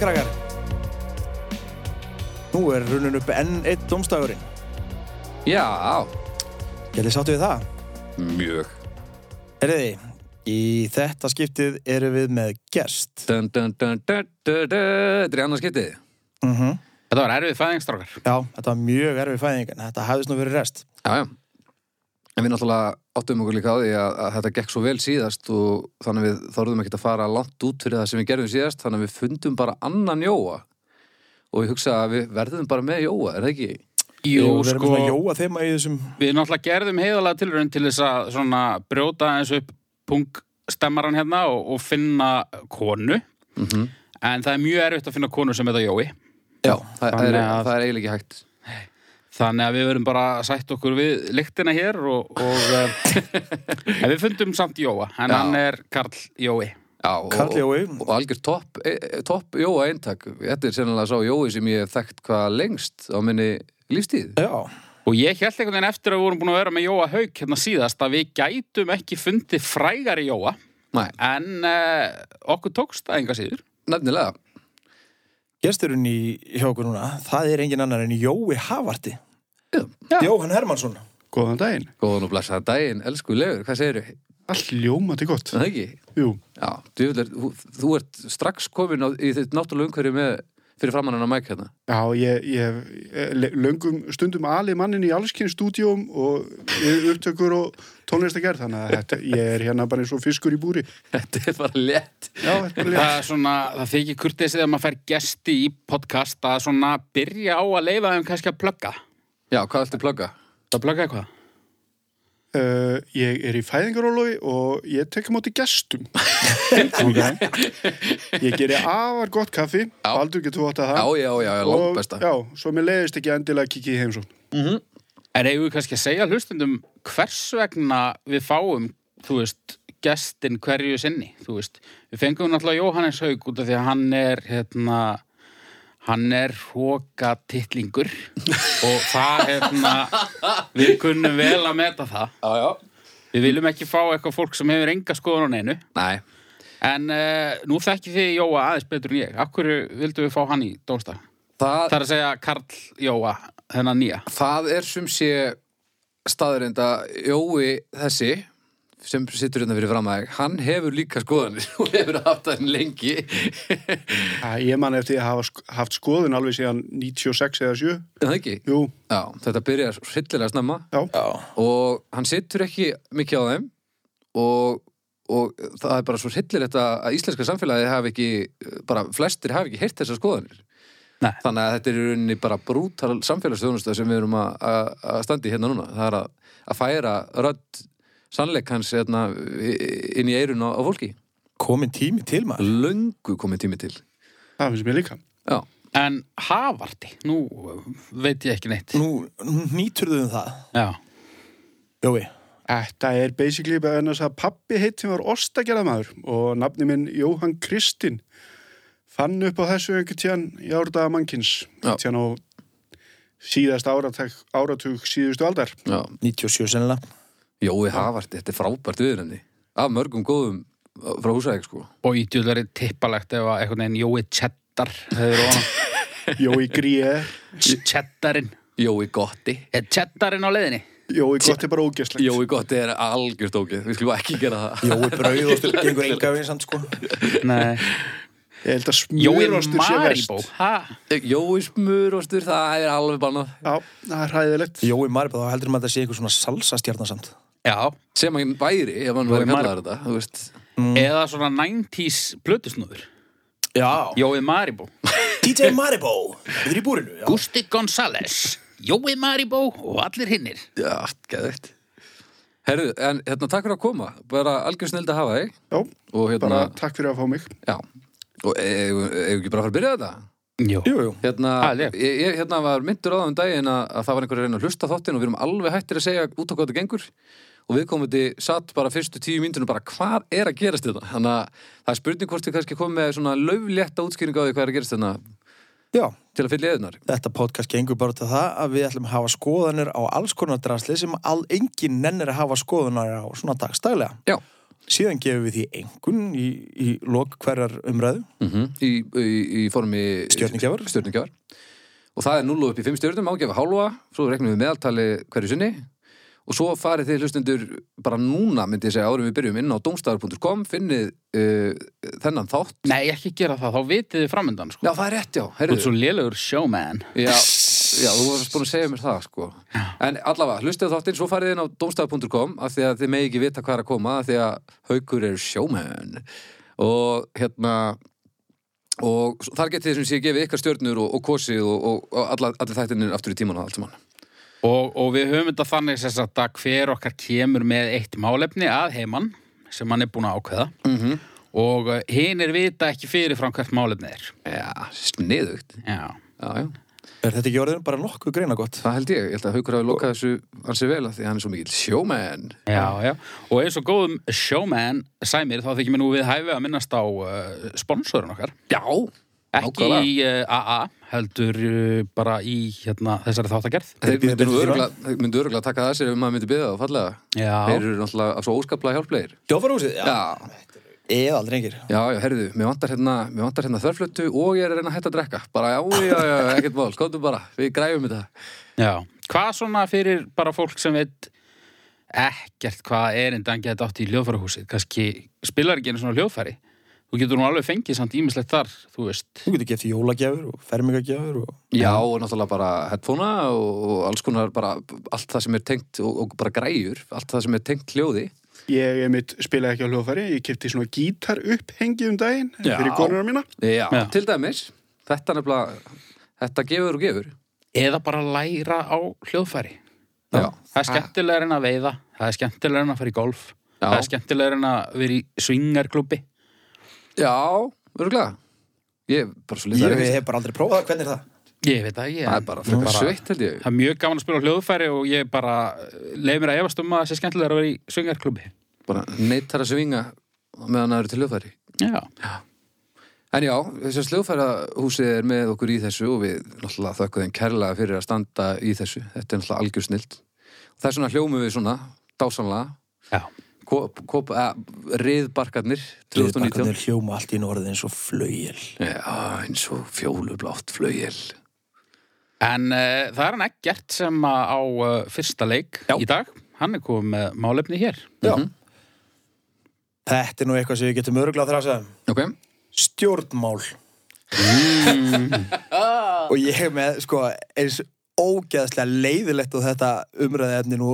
krakkar Nú er runnin upp enn eitt domstagurinn Já, Gæli sáttu við það? mjög. Herriði, í þetta skiptið erum við með gerst Dun, dun, dun, dun, dun, dun. Þetta er annars skiptið. mm Þetta var erfið fæðingstrákar. Já, þetta var mjög erfið fæðing en þetta hafðist nú verið rest Já, já. En við náttúrulega áttum okkur líka á því að, að þetta gekk svo vel síðast og þannig við þorðum ekkert að fara langt út fyrir það sem við gerðum síðast, þannig að við fundum bara annan Jóa og ég hugsa að við verðum bara með Jóa, er það ekki? Jú, Við erum sko, svona jóa þeima í þessum við náttúrulega gerðum heiðalega tilraun til þess að svona brjóta eins upp punktstemmaran hérna og, og finna konu. Mm Mhm. En það er mjög erfitt að finna konu sem heita Jói. Já, það, það, er, Þannig að- það er eiginlega ekki hægt. Þannig að við verum bara að sætt okkur við lyktina hér og, og eh, en við fundum samt Jóa, en Já. hann er Karl Jói. Já, og, Karl Jói. og, og algjör topp e, top Jóa eintak. Þetta er sennilega sá Jói sem ég hef þekkt hvað lengst á minni lífstíð. Já, Og ég held einhvern veginn eftir að við vorum búin að vera með Jóa Hauk hérna síðast að við gætum ekki fundið frægari Jóa, Næ, en uh, okkur tókst það enga síður. nefnilega. gesturinn í hjá okkur núna það er engin annar en Jói Havarti Já. Jóhann Hermansson Góðan daginn. Góðan og blessaðan daginn, elsku legur, hvað segirðu? Allt ljómandi gott. Það ekki? Jú. Já, djúvill er, þú, þú ert strax komin á, í þitt náttúrulega umhverju með fyrir framann hennar mæk hérna. Já, ég, ég hef eh, le- löngum stundum alið mannin í allskynns stúdíum og við upptökur og tónlistagerð, þannig að þetta, ég er hérna bara eins og fiskur í búri. Þetta er bara lett. Já, þetta er Það er svona, það þykir kurtið þegar maður fær gesti í podcast að svona byrja á að leifa þeim kannski að plugga. Já, hvað ættu plugga? Það plugga eitthvað? Uh, ég er í fæðingarólofi og ég tek á móti gestum. Ég geri afar gott kaffi, Já. Baldur getur þú átt að Já, það. já, já, já, langt besta. Já, svo mér leiðist ekki endilega að kikið í heimsókn. En eigum við kannski að segja hlustundum hvers vegna við fáum, þú veist, gestin hverju sinni, þú veist. Við fengum náttúrulega Jóhannes Haug út af því að hann er, hérna, hann er hóka titlingur og það, hérna, við kunnum vel að meta það. já. Við viljum ekki fá eitthvað fólk sem hefur enga skoðun á neinu. Næ, En uh, nú þekki þið Jóa aðeins betur en ég. Af hverju vildum við fá hann í dómstag? það, Það er að segja Karl Jóa, þennan nýja. það er sum sé staðurinn að Jói þessi sem sittur hérna fyrir framæg, hann hefur líka skoðanir og hefur haft það lengi. Æ, Ég man eftir að hafa sk- haft skoðun alveg síðan 96 eða 7. Er það ekki? Jú, Já, þetta byrjar hryllilega snemma já. Já, og hann sittur ekki mikið á þeim og, og það er bara svo hryllilegt að, að íslenska samfélagi hafi ekki, bara flestir hafi ekki heyrt þessar skoðanir. Nei. Þannig að þetta er í rauninni bara brútal samfélagsþjónustu sem við erum að, að, að standi hérna núna. Það er að, að færa rödd sannleik hans hérna, í- inn í eirun á, á fólki. komin tími til maður Löngu komið tími til. Það finnst mér líka. Já, En hafarti, nú veit ég ekki neitt. Nú, nýturðu um það Já. Jói, Þetta er basically bara ennast að pappi heitt sem var ostagerðamaður og nafni minn Jóhann Kristinn fann upp á þessu einhvern tíðan í árdaga mannkins. Já. Tíðan á síðast áratug, áratug síðustu aldar. já. 97 sennilega Jói Havart, þetta er frábært viðrenni. Af mörgum góðum frá húsæk, sko. Og í djúðlega er tippalegt ef að einhvern veginn Jói Cheddar hefur ofan Jói Gríe, Cheddarinn Jói Gotti. Er Cheddarinn á leiðinni? Jói gott er bara ógeslegt. Jói Gotti er algjört ógeð, við skulum ekki gera það. Jói brauð og gengur enga við samt sko Nei Ég held að Jói er smjörostur sé verst. Maribó Ha? Eh, Jói smurostur, það er alveg bannað. Já, það er hæðilegt. Jói Maribó, þá heldur maður að þetta sé eitthvað svona salsastjarnar samt Já Sem hann væri, ef hann væri Jói kallaður þetta, þú veist. Mm. Eða svona 90s plötusnúður Já, Jói Maribó DJ Maribó, við erum í búrinu já. Gusti González Jói Maribó og allir hinnir Já, geðvægt. Herru, en hérna takk fyrir að koma, bara algjör snild að hafa þig. Já, Og hérna, bara takk fyrir að fá mig. já, og eigum e, e, ekki bara að fara að byrja þetta? Jó Jú, jú, Hérna, Ah, leg. ég, ég hérna var myndur á það um daginn að, að það var einhver að reyna að hlusta á þáttinn og við erum alveg hættir að segja út á hvað þetta gengur og við komum þetta satt bara fyrstu tíu myndunum bara hvað er að gerast þetta þannig að það er spurning hvort við kannski komum með svona löflétta útskýringa á því hvað er að gerast þetta já til að fylla eðunar Þetta podcast gengur bara til það að við ætlum að hafa skoðanir á alls konar drasli sem all enginn nennir að hafa skoðanir á svona dagstælega Já, Síðan gefum við því engun í, í lok hverjar umræðu. Mhm. í, í, í formi Stjörnugjafar. Stjörnugjafar. og það er 0 upp í 5 stjörnum ágefa hálfa, svo reknum við meðaltali hverju sinni og svo farið þið hlustendur bara núna, myndi ég segja, árum við byrjum inn á domstafar.com, finnið uh, þennan þátt Nei, ekki gera það, þá vitið þið framöndan sko. Já, það er rétt, já, Þú herru ert svo lélegur showman Já, já, þú varst búin að segja mér það, sko En allavega, hlustið á þáttinn, svo farið inn á domstaf.com af því að þið megi ekki vita hvað er að koma af því að haukur er sjómenn og hérna og s- þar getið þið sem sé gefið ykkar stjörnur og, og kosið og, og, og alla, allir þættinir aftur í tíman og allt saman og, og við höfum þetta þannig sem sagt að hver okkar kemur með eitt málefni að heimann sem hann er búin að ákveða Mhm. og hinn er vita ekki fyrir fram hvert málefni er Já, sniðugt Já, Já, já, Er þetta ekki orðin bara nokkuð greina gott? það held ég, ég held að haukur hafi lokað þessu hans vel af því að hann er svo mikill sjómenn já, já og eins og góðum showman sæmir þá þykir mér nú við hæfi að minnast á uh, sponsorun okkar Já, ekki í uh, AA heldur uh, bara í hérna, þessari þáttagerð Þeir Þeir bíða myndu betri tíma. öruglega, myndu öruglega taka það að sér ef maður myndi byggja það og fallega Já. Þeir eru náttúrulega svo óskaplega hjálplegir Hljófarhúsið? Já, Eða aldrei engir. já, já, herðu, mér vantar hérna, mér vantar hérna þörflötu og ég er að reyna að hætta að drekka Bara já, já, já, já, ekkert mál, komdu bara, við græfum þetta Já, hvað svona fyrir bara fólk sem veit ekkert hvað er en þannig að þetta átt í hljóðfærahúsið kannski spilar ekki einu svona hljóðfæri þú getur nú alveg fengið samt ímislegt þar þú veist, Þú getur gett jólagjafur og fermingagjafur og... Já, og náttúrulega bara headphonea og, og alls konar bara allt það sem er tengt og, og bara græjur, allt það sem er tengt hljóði Ég mitt spilaði ekki á hljóðfæri, ég kefti svona gítar upphengi um daginn Já. fyrir konuna mína. Já, Já. til dæmis, þetta nefnilega, þetta gefur og gefur eða bara læra á hljóðfæri Já, það er skemmtilegur en að veiða það er skemmtilegur en að fara í golf Já. það er skemmtilegur en að vera í svingarklubbi já, öruglega Ég er bara svo Ég litið hef bara aldrei prófað það, hvernig er það? ég veit það, ég Það er bara frekar sveitt held ég það er mjög gaman að spila á hljóðfæri og ég bara leið mér að efast um að það sé skemmtilegur að vera í svingarklubbi bara neittar að svinga meðan það eru til hljóðfæri já, En já, þessar sljóðfærahúsið er með okkur í þessu og við náttúrulega þökkum þeim kærlega fyrir að standa í þessu þetta er náttúrulega algjör snilt Það er svona hljómu við svona, dásanlega já. kop, kop, eh, riðbarkarnir 2019 Liðbakkarnir hljóma allt í norðið eins og flögil. Já, eins og fjólublátt flögil En uh, það er hann ekkert sem að á uh, fyrsta leik Já. í dag. Hann er komið með málefni hér. Já. Þetta er nú eitthvað sem við getum öruglega þrásað um. Ok, Stjórnmál. og ég er með, sko, eins ógeðslega leiðilegt og þetta umræði efni nú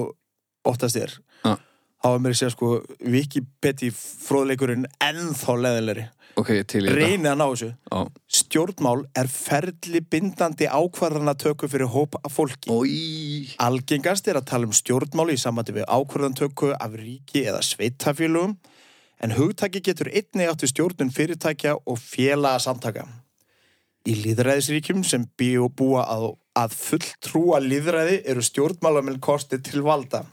oftast er. Já. Þá er mér að segja, sko, Wikipedia fróðleikurinn ennþá leiðilegri. ok, ég til í þetta Reynið að ná þessu. Já. Stjórnmál er ferli bindandi ákvarðanatöku fyrir hóp af fólki. Ói Algengast er að tala um stjórnmáli í samvætti við ákvörðantöku af ríki eða sveitafélugum en hugtaki getur einnig átt við stjórnun fyrirtækja og félaga samtaka. Í líðræðisríkjum sem býu og búa að, að fulltrúa líðræði eru stjórnmálamenn kostið til valda.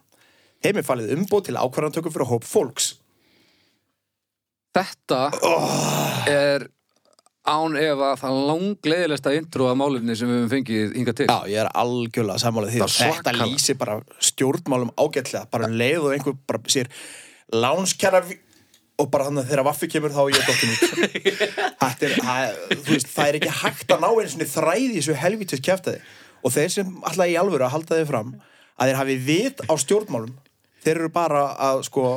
Þeim er falið umbóð til ákvörðantöku fyrir hóp fólks. Þetta er án efa það langleðilegsta intro að málefni sem við höfum fengið hingað til Já, ég er algjörlega sammálið því Það að er þetta svakalega. lýsir bara stjórnmálum ágætlega, bara um leið og einhver bara sér lánskjara vi- og bara þannig að þegar vaffi kemur þá er ég dottin út Þetta er, að, þú veist, það er ekki hægt að ná einu svona þræði í þessu helvítið kjæftaði og þeir sem alltaf í alvöru að halda þeir fram að þeir hafi vit á stjórnmálum þeir eru bara að sko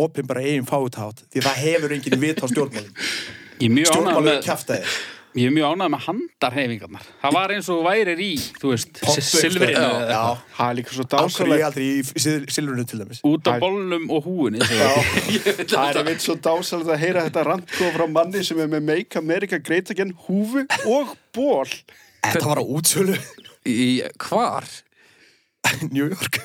opin bara eigin fáutátt því það hefur engin vit á stjórnmálum Ég er mjög ánægð stjórnmálum með, er kjæftaði ég er mjög ánægð með handarhefingarnar. Það var eins og þú værir í, þú veist, Poppu silfrinu. einhvers staðar. sko. eða Já. eitthvað. Það er líka svo Ákveður ég dásalegt, aldrei í silfurinu til dæmis Út af Hæ. bollum og húinu. Já. það er veit svo dásalegt að heyra þetta randgóð frá manni sem er með Make America Great Again húfu og ból. Þetta var á útsölu Í hvar? New York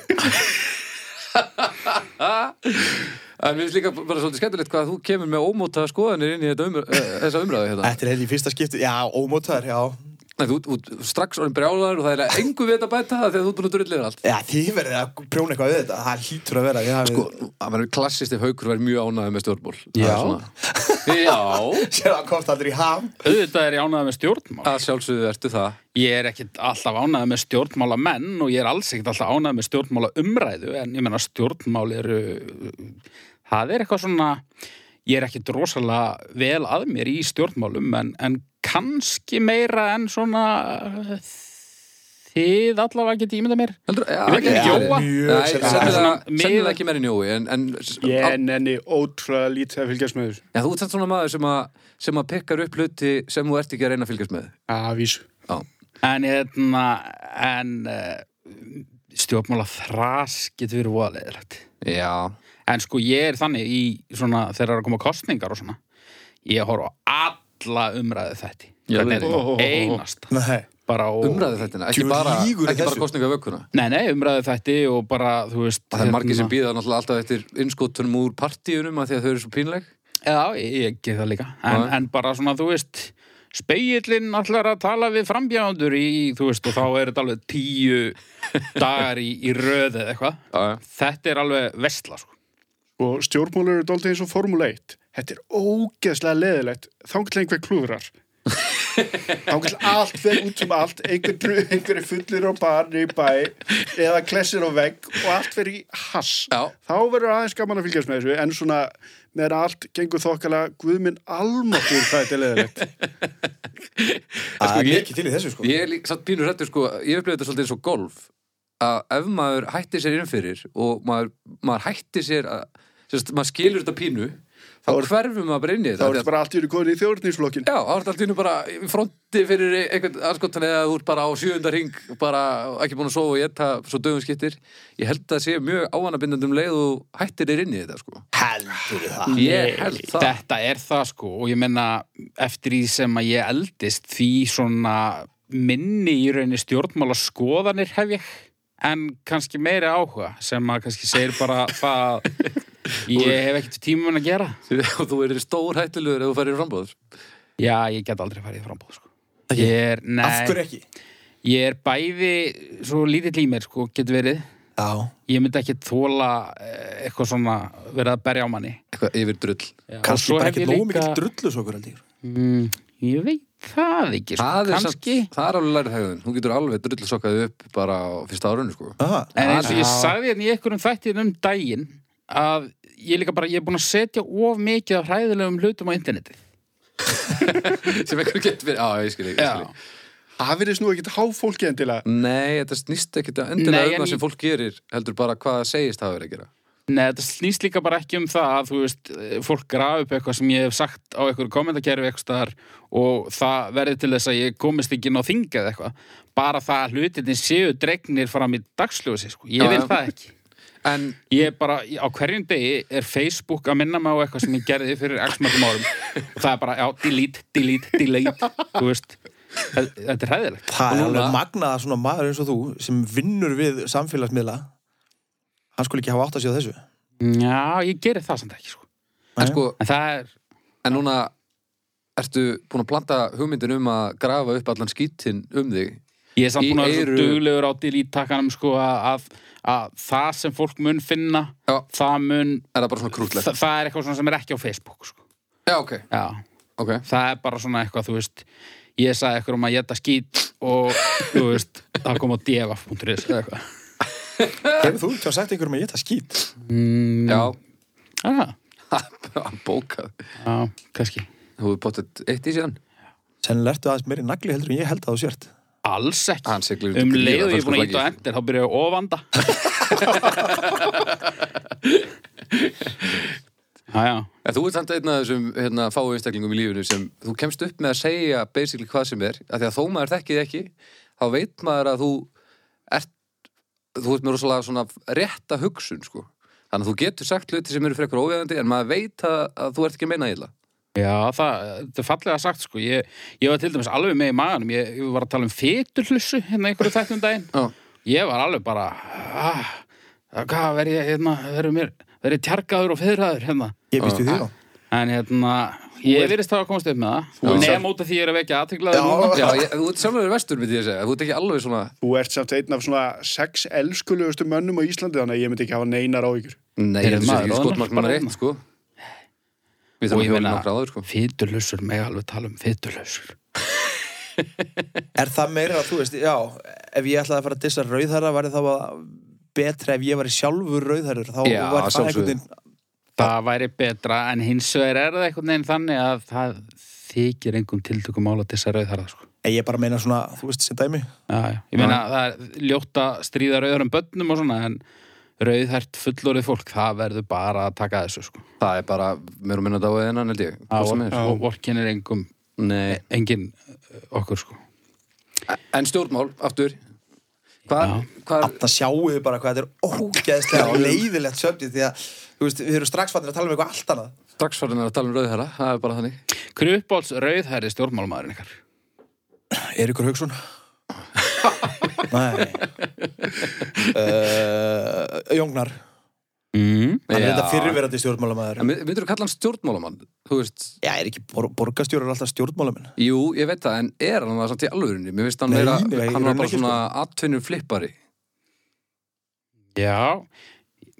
En mér finnst líka bara svolítið skemmtilegt hvað þú kemur með ómóta skoðanir inn í þetta umr uh, þessa umræðu hérna. Þetta er þetta í fyrsta skipti, já, ómótaður, já Nei, þú, þú strax orðin brjálaður og það er engu við þetta bæta það þegar þú er búin að drullir allt. Já, þið verðið að prjóna eitthvað við þetta, það hlýtur að vera Ég hafi Sko, Það verður klassist ef haukur verður mjög ánæðið með stjórnból. Já. Já. sér það komst aldrei í ham Auðvitað er ég ánægð með stjórnmál. Að sjálfsögðu ertu það. Ég er ekkit alltaf ánægð með stjórnmála menn og ég er alls ekkit alltaf ánægð með stjórnmála umræðu en ég menna stjórnmál eru það er eitthvað svona ég er ekki drosalega vel að mér í stjórnmálum en, en kannski meira en svona eh, þið allavega getið ímynda mér Heldur, já, Ég veit ekki, já, Jóa? Mjög Nei, sennilega. sennilega, Svona mið- sennilega ekki meiri njói en, en Ég al- nenni ótrúlega lítið að fylgjast með þessu. já, þú ert samt svona maður sem að, sem að pekkar upp hluti sem þú ert ekki að reyna að fylgjast með Að vísu. Já, en hérna en uh, stjórnmála þras getur verið voðaleðilegt já. en sko ég er þannig í svona þegar það er að koma kostningar og svona ég horf á alla umræðu þetta Já, við- einast Nei, bara á umræðu þettina, ekki Djú, bara, lýgur í ekki bara þessu. kostninga vökkuna Nei, nei, umræðu þætti og bara, þú veist Það er margir sem hérna- býða náttúrulega alltaf eftir innskotunum úr partíunum að því að þau eru svo pínleg Já, ég, ég get það líka en, Já. en bara svona, þú veist speillin allar að tala við frambjáðundur í, þú veist, og þá er þetta alveg tíu dagar í, í röð eða eitthvað Já, Þetta er alveg vestla, sko Og stjórnmálur eru dálítið eins og Formule 1. Þetta er ógeðslega leðilegt. Þangilega einhver klúðrar. Þangilega allt fer út um allt. Einhver, dru- einhver er fullir á barni í bæ eða klessir á vegg og allt fer í hass. Já. Þá verður aðeins gaman að fylgjast með þessu en svona meðan allt gengur þokkala guðminn almáttur það er leðilegt. það er ég- mikið til í þessu sko Ég er líka samt pínur hættur sko, ég upplifði þetta svolítið eins og golf að ef maður hættir sér innfyrir og maður, maður hættir sér að, sérst, maður skilur þetta pínu þá Þá er- hverfum maður bara inn í þetta Þá er Því að- þetta bara allt í ykkur í þjórninsflokkin. Já, þá er þetta allt í hennu bara í fronti fyrir einhvern anskotan eða þú ert bara á sjöunda ring bara ekki búin að sofa og geta svo dögum skiptir ég held að það sé mjög ávanabindandi um leið og hættir þér inn í þetta sko Heldur það Ég held það Þetta er það, sko, og ég menna eftir því sem að ég eldist því svona minni í rauninni stjórnmála skoðanir hef ég en kannski meiri áhuga sem að kannski segir bara það að ég hef ekkert tíma um að gera og þú erir stór hættilegur ef þú færir frambóður Já, ég get aldrei farið í frambóð sko. Ég er, Af nei, hverju ekki? ég er bæði svo lítill í mér, sko, getur verið Já Ég myndi ekki þóla eitthvað svona verið að berja á manni eitthvað yfir drull Já, og Kanski svo bara hef ekki ég nógu líka- mikill drullus okkur held ég mm, Ég veit það ekki, sko, það er, samt, kannski það er alveg lærið hegðun hún getur alveg drullsokkaði upp bara á fyrsta árunni sko. Aha. En eins og ég Já. sagði hérna í einhverjum þættin um daginn að ég er líka bara, ég er búin að setja of mikið af hræðilegum hlutum á internetið sem einhver getur verið, á ég skil ekki, ég skil Já, ekki. Það verðist nú ekkit háfólki endilega. nei, þetta snýst ekki endilega Nei, en um það sem ég- fólk gerir heldur bara hvað það segist hafa verið að gera Nei, þetta snýst líka bara ekki um það að þú veist, fólk grafi upp eitthvað sem ég hef sagt á einhverju kommentarkerfi eitthvað staðar og það verði til þess að ég komist ekki inn á þingið eða eitthvað. Bara það að hlutinni séu dregnir fram í dagsljósi, sko. Ég Já, vil já. það ekki. en Ég er bara, á hverjum degi er Facebook að minna mig á eitthvað sem ég gerði fyrir x mörgum árum og það er bara, já, delete, delete, delete, þú veist. Þe- Þetta er hæðilegt. Það er Og núna- alveg magnað að svona maður eins og þú sem vinnur við samfélagsmiðla hann skulle ekki hafa átt að séu þessu Já, ég geri það samt ekki, sko. En, sko, En það er, en núna ertu búin að planta hugmyndin um að grafa upp allan skítinn um þig Ég er samt Í búin að vera eyru- svo duglegur á delete-takkanum sko að, að, að það sem fólk mun finna Já. það mun, er það bara svona krútlegt það, það er eitthvað svona sem er ekki á Facebook sko. Já, ok, Já, ok það er bara svona eitthvað, þú veist ég sagði eitthvað um að geta skít og þú veist, það kom á df.is eða eitthvað Hefur þú ekki að sagt einhverjum að geta skýt? mm, Já, Já, Hann bókað já, kannski Þú hefur bóttið eitt í síðan Sennilega ertu aðeins meiri nagli heldur en ég held að þú sért Alls ekki Hann siglir Um undir leið gríðarförsku og ég er búin að íta á flaggi. endir, þá byrja ég að ofanda Já, já En þú ert samt einn af þessum hérna, fáu einstaklingum í lífinu sem þú kemst upp með að segja basically hvað sem er, af því að þó maður þekkið ekki þá veit maður að þú ert, þú ert með rosalega svona rétta hugsun, sko þannig að þú getur sagt hluti sem eru frekar óveðandi en maður veit að, að þú ert ekki að meina illa Já, það, þetta er fallega sagt sko ég, ég var til dæmis alveg með í maganum ég, ég var að tala um fetullussu hérna einhverju þættum daginn Já. ég var alveg bara ah, hvað verð ég hérna verður mér, verð ég tjargaður og feðraður hérna Ég býst við því þá en hérna, ég verðist það að komast upp með það nefn út af því ég er að vekja aðteglaður núna Já, ég, þú ert samlega vestur, myndi ég að segja þú ert ekki alveg svona, Þú ert samt einn af svona sex elskulegustu mönnum á Íslandi þannig að ég myndi ekki hafa neinar á ykkur. nei, þetta Heyrðu, er maður, ekki áður skotmark en nummer bara eitt, hérna. sko Við og þurfum að ég hjóla meina, nokkra áður, sko fetulussur meg alveg tala um fetulussur Er það meira að þú veist, já ef ég ætlaði að fara að dissa rauðherra var það betra ef ég var sjálfur rauðherrur þá Já, var það sjálfsögðu. einhvern veginn það væri betra en hins vegar er það einhvern veginn þannig að það þykir einhverjum tiltökum ála til þess að rauðharða sko. En ég bara meina svona, þú veist, sem dæmi já, já. ég meina það er ljótt að stríða rauðharum bönnum og svona en rauðhært fullorðið fólk það verður bara að taka þessu sko. Það er bara, mér og minna dáið hennan, held ég. Hvað sem er. og vorkin er engum Nei. engin uh, okkur sko. En stjórnmál, aftur. Hvað, hvað, Það sjáu þið bara hvað þetta er ógeðslega leiðilegt söfnið því að, þú veist, við erum strax fannir að tala um eitthvað allt annað strax farin er að tala um rauðherra, það er bara þannig. Krupáls rauðhæri stjórnmálmaðurinn ykkar Erikur Hauksson Nei uh, Jóngnar mm. Hann er Já. þetta fyrirverandi stjórnmálamæður En myndur þú kalla hann stjórnmálamann? Þú veist, Já, er ekki bor borgarstjórar alltaf stjórnmálamenn jú, ég veit það, en er hann það samt í alvörunni? Mér finnst hann Nei, vera, nei, í hann var rauninni bara ekki, svona atvinnum flippari. Já,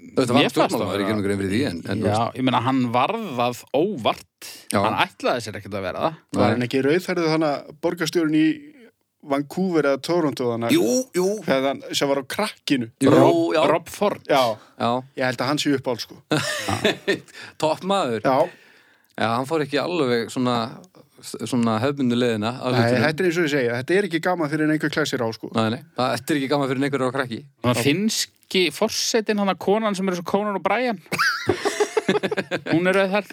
Þetta var Mér hann fannst stjórnmálamann, ég það er ekki vera- grein fyrir því, en, en þú já, veist, ég meina hann varðað óvart Já. Hann ætlaði sér ekkert að vera það Var hann ekki rauðhærið þannig að borgarstjórun í Vancouver eða Toronto þannig Jú, jú að hann sem var á krakkinu Jú, Rob, já, Rob Ford Já, já, ég held að hann sé upp ál sko topp maður. Já, Já, hann fór ekki alveg svona, svona hefbundu leiðina. af Æ, hlutunum. þetta er eins og ég segja, þetta er ekki gaman fyrir en einhver klæsir á sko Nei, nei, það þetta er ekki gaman fyrir einhverjar á krakki Það finnski forsetin hann að konan sem eru svo konan og bræjan Hún er rauðhært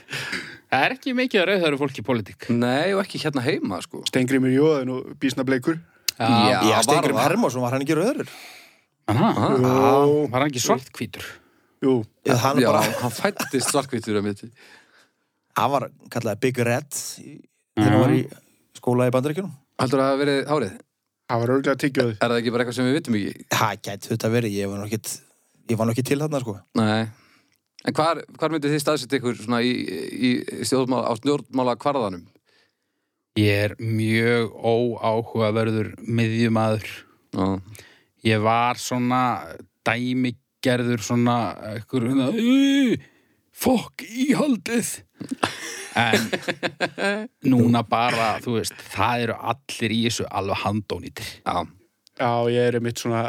Það er ekki mikið að rauðhæru fólk í politík Nei, og ekki hérna heima, sko Stengrimur Jóðin og Bísna Bleikur Já, Já, var Stengrim það Hermásson, var hann ekki röður? Aha, Jú. Var hann ekki svartkvítur? Jú, Já, hann Já, bara, hann fættist svartkvítur um þetta hann var kallaði Big Red í- þegar hann var í skóla í bandaríkjunum Haldur það að verið hárið? það var örgulega tyggjöð Er það ekki bara eitthvað sem við vitum ekki? Það gæti þetta verið, ég var nú ekkit ég var nú ekki til þarna sko Nei En hvar, hvar myndið þið staðsett ykkur svona í, í í stjórnmála, á stjórnmála kvarðanum? Ég er mjög óáhugaverður miðjumæður Já, ég var svona dæmigerður svona ykkur hérna "Ú, fokk íhaldið en núna bara, þú veist, það eru allir í þessu alveg handónýtir já, Já, ég er einmitt svona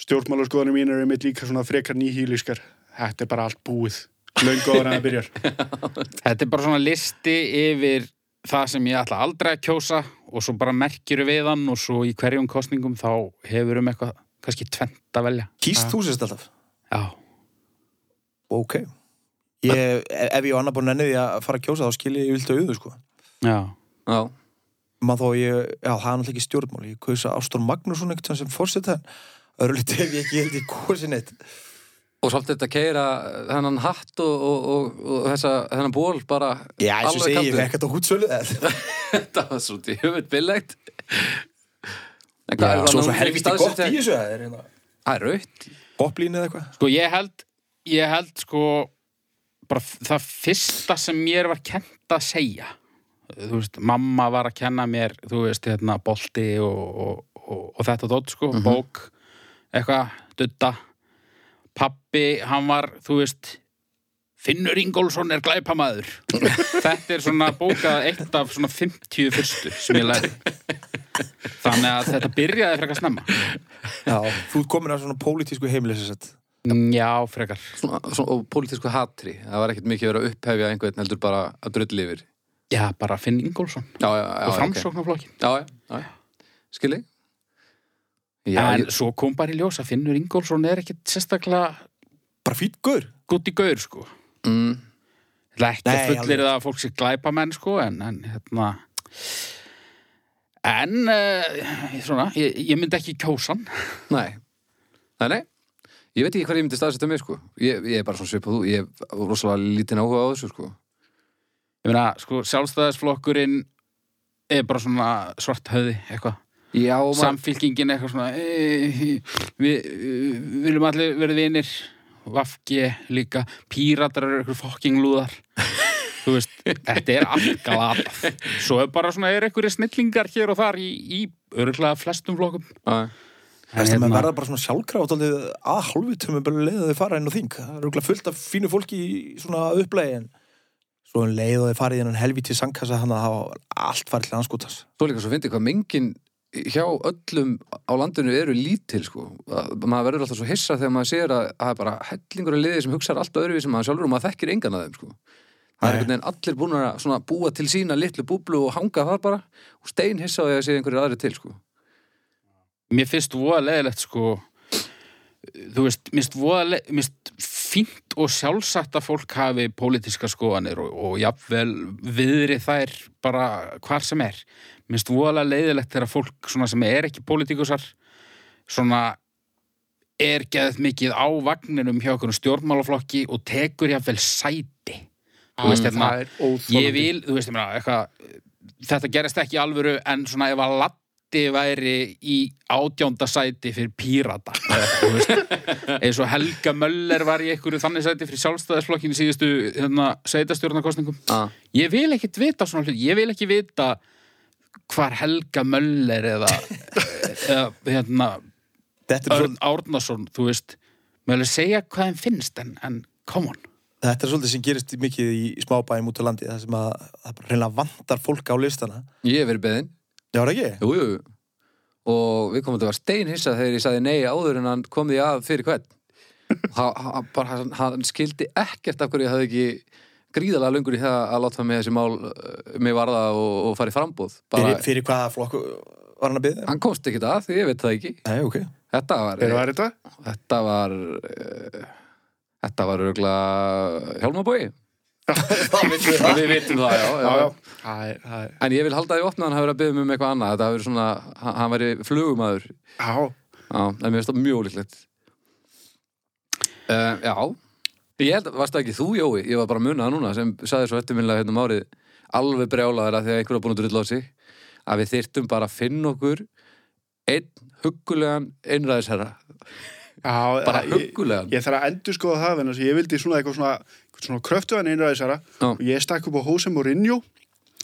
stjórnmálaskoðanir mín er einmitt líka svona frekar nýhýlískar Þetta er bara allt búið Löngu áður en það byrjar þetta er bara svona listi yfir það sem ég ætla aldrei að kjósa og svo bara merkjur við hann og svo í hverjum kostningum þá hefur um eitthvað kannski tvent að velja Kýst þú sérst alltaf? já, Ok ég, e- Ef ég var annar búin enni því að fara að kjósa þá skil ég vilt auðu sko já, já maður þó að ég, já það er náttúrulega ekki stjórnmál ég kausa Ástór Magnússon einhvern tímann sem fórseta öðru liti hef ég ekki held í kursin eitt Og samt þetta keira þennan hatt og, og, og, og þessa, þennan ból bara já eins og alveg segi ég kaldur. fekk þetta á hútsölu eða- Þetta var svo djöfut billegt En Já. hvað er það svo nú svo ekki helviti staðsett gott í þessu það er hérna Það er raut poplín eða eitthvað Sko ég held, ég held sko bara f- það fyrsta sem mér var kent að segja þú veist, mamma var að kenna mér þú veist, hérna, bolti og, og, og, og þetta dótt sko, bók eitthvað, dutta pappi, hann var, þú veist Finnur Ingólfsson er glæpamaður þetta er svona bókað eitt af svona 50 fyrstu sem ég læri þannig að þetta byrjaði frekar snemma já, þú ert komin að svona pólitísku heimilisessett já, frekar svona, svona, og pólitísku hatri það var ekkert mikið verið að upphefja einhvern heldur bara að drulli yfir já, já, bara Finn Ingólfsson já, já, og já, ok. framsóknarflokkin já, já, já, já. skilji já, en ég, svo kom bara í ljós að Finnur Ingólfsson er ekkit sérstaklega bara fýtt guður gutt í gaur sko mm, Það er ekki að Nei, fullir það að fólk sé glæpa menn sko en, en hérna en uh, svona, ég, ég myndi ekki kjósan nei nei, nei ég veit ekki hvað ég myndi staðsetja mig sko ég, ég er bara svona svipað þú ég er rosalega lítinn áhuga á þessu sko ég meina sko sjálfstæðisflokkurinn er bara svona svart höði eitthvað já, og maður, samfylkingin eitthvað svona e, við eh, viljum allir verið vinir Vafki líka, píratar eru eitthvað fokking lúðar þú veist, þetta er allt glatað svo er bara svona, er eitthvað snillingar hér og þar í, í örgulega flestum flokkum já, Þessi menn Hérna, verða bara svona sjálfkrátt aldrei að hálfutum er bara leið að þau fara inn á þing. Það eru örugglega fullt af fínu fólki í svona upplægi en svo um leið að þau farið innan helvítið sangkassa þannig að hafa allt farið til anskotas. svo líka svo fyndi hvað mengin hjá öllum á landinu eru lítil sko. Að- maður verður alltaf svo hissa þegar maður sér að að það er bara hellingur að liði sem hugsaðar allt öðruvísi sem maður sjálfur og maður þekkir engan að þeim sko. það er Nei. einhvern veginn allir búin að svona búa til sína litlu búblu og hanga þar bara og stein hissa á því að sé einhverjir aðri til sko. Mér finnst voða leðilegt sko þú veist, mér finnst voða le- mér finnst fínt og sjálfsagt að fólk hafi pólitíska skoðanir og, og jafnvel viðri þær bara hvar sem er mér finnst voða leiðilegt þegar fólk svona sem er ekki pólitíkusar svona er geðið mikið á vagninum hjá okkur stjórnmálaflokki og tekur jafnvel sæti þú veist, hérna, það er óþólandi ég vil, þú veist, ég meina, eitthvað þetta gerist ekki í alvöru en svona ef að Latti væri í átjónda sæti fyrir pírata þú veist, eins og Helga Möller var í einhverju þannig sæti fyrir sjálfstæðisflokkinu síðustu hérna, sveitastjórnarkostningum Ah. ég vil ekkit vita svona hlut, ég vil ekki vita hvar Helga Möller eða, eða hérna, Þetta er, Örn svol, Árnason þú veist, maður vil segja hvað þeim finnst en, en come on þetta er svolítið sem gerist mikið í smábæðum út á landi það sem að það bara reynilega vantar fólk á listana ég hef verið beðin Já, er það ekki? jú, jú. jú. og við komum til að vera stein hissa þegar ég sagði nei áður en hann kom því að fyrir hvern og hann- hann- bara hann- hann skildi ekkert af hverju ég hafði ekki gríðalega lungur í það að láta mig þessi mál uh, mig varða og, og fara í frambúð bara, Fyrir, fyrir hvaða flokku var hann að byggja? hann komst ekkert að því ég veit það ekki Nei, ok. þetta var, Hver var þetta? þetta var uh, þetta var örgla hjálmabói Það veitum við það. við vitum það, já, já, já. Það er, það er, En ég vil halda því opna að hann hafi verið að byggja um eitthvað annað. Þetta hafi verið svona, hann- hann væri flugumæður á, Já, en mér finnst það mjög líklegt uh, Já Ég held, varst það ekki þú, Jói? Ég var bara að muna það núna sem saði svo eftirminlega hérna um árið alveg brjálaður að þegar einhver var búin að drulla á sig að við þyrtum bara að finna okkur einn huggulegan einræðisherra á, bara á, ég, huggulegan ég þarf að endur skoða það vegna þess að ég vildi svona eitthvað svona, eitthvað svona kröftuðan einræðisara Já. og ég stakk upp á Hosem Mourinho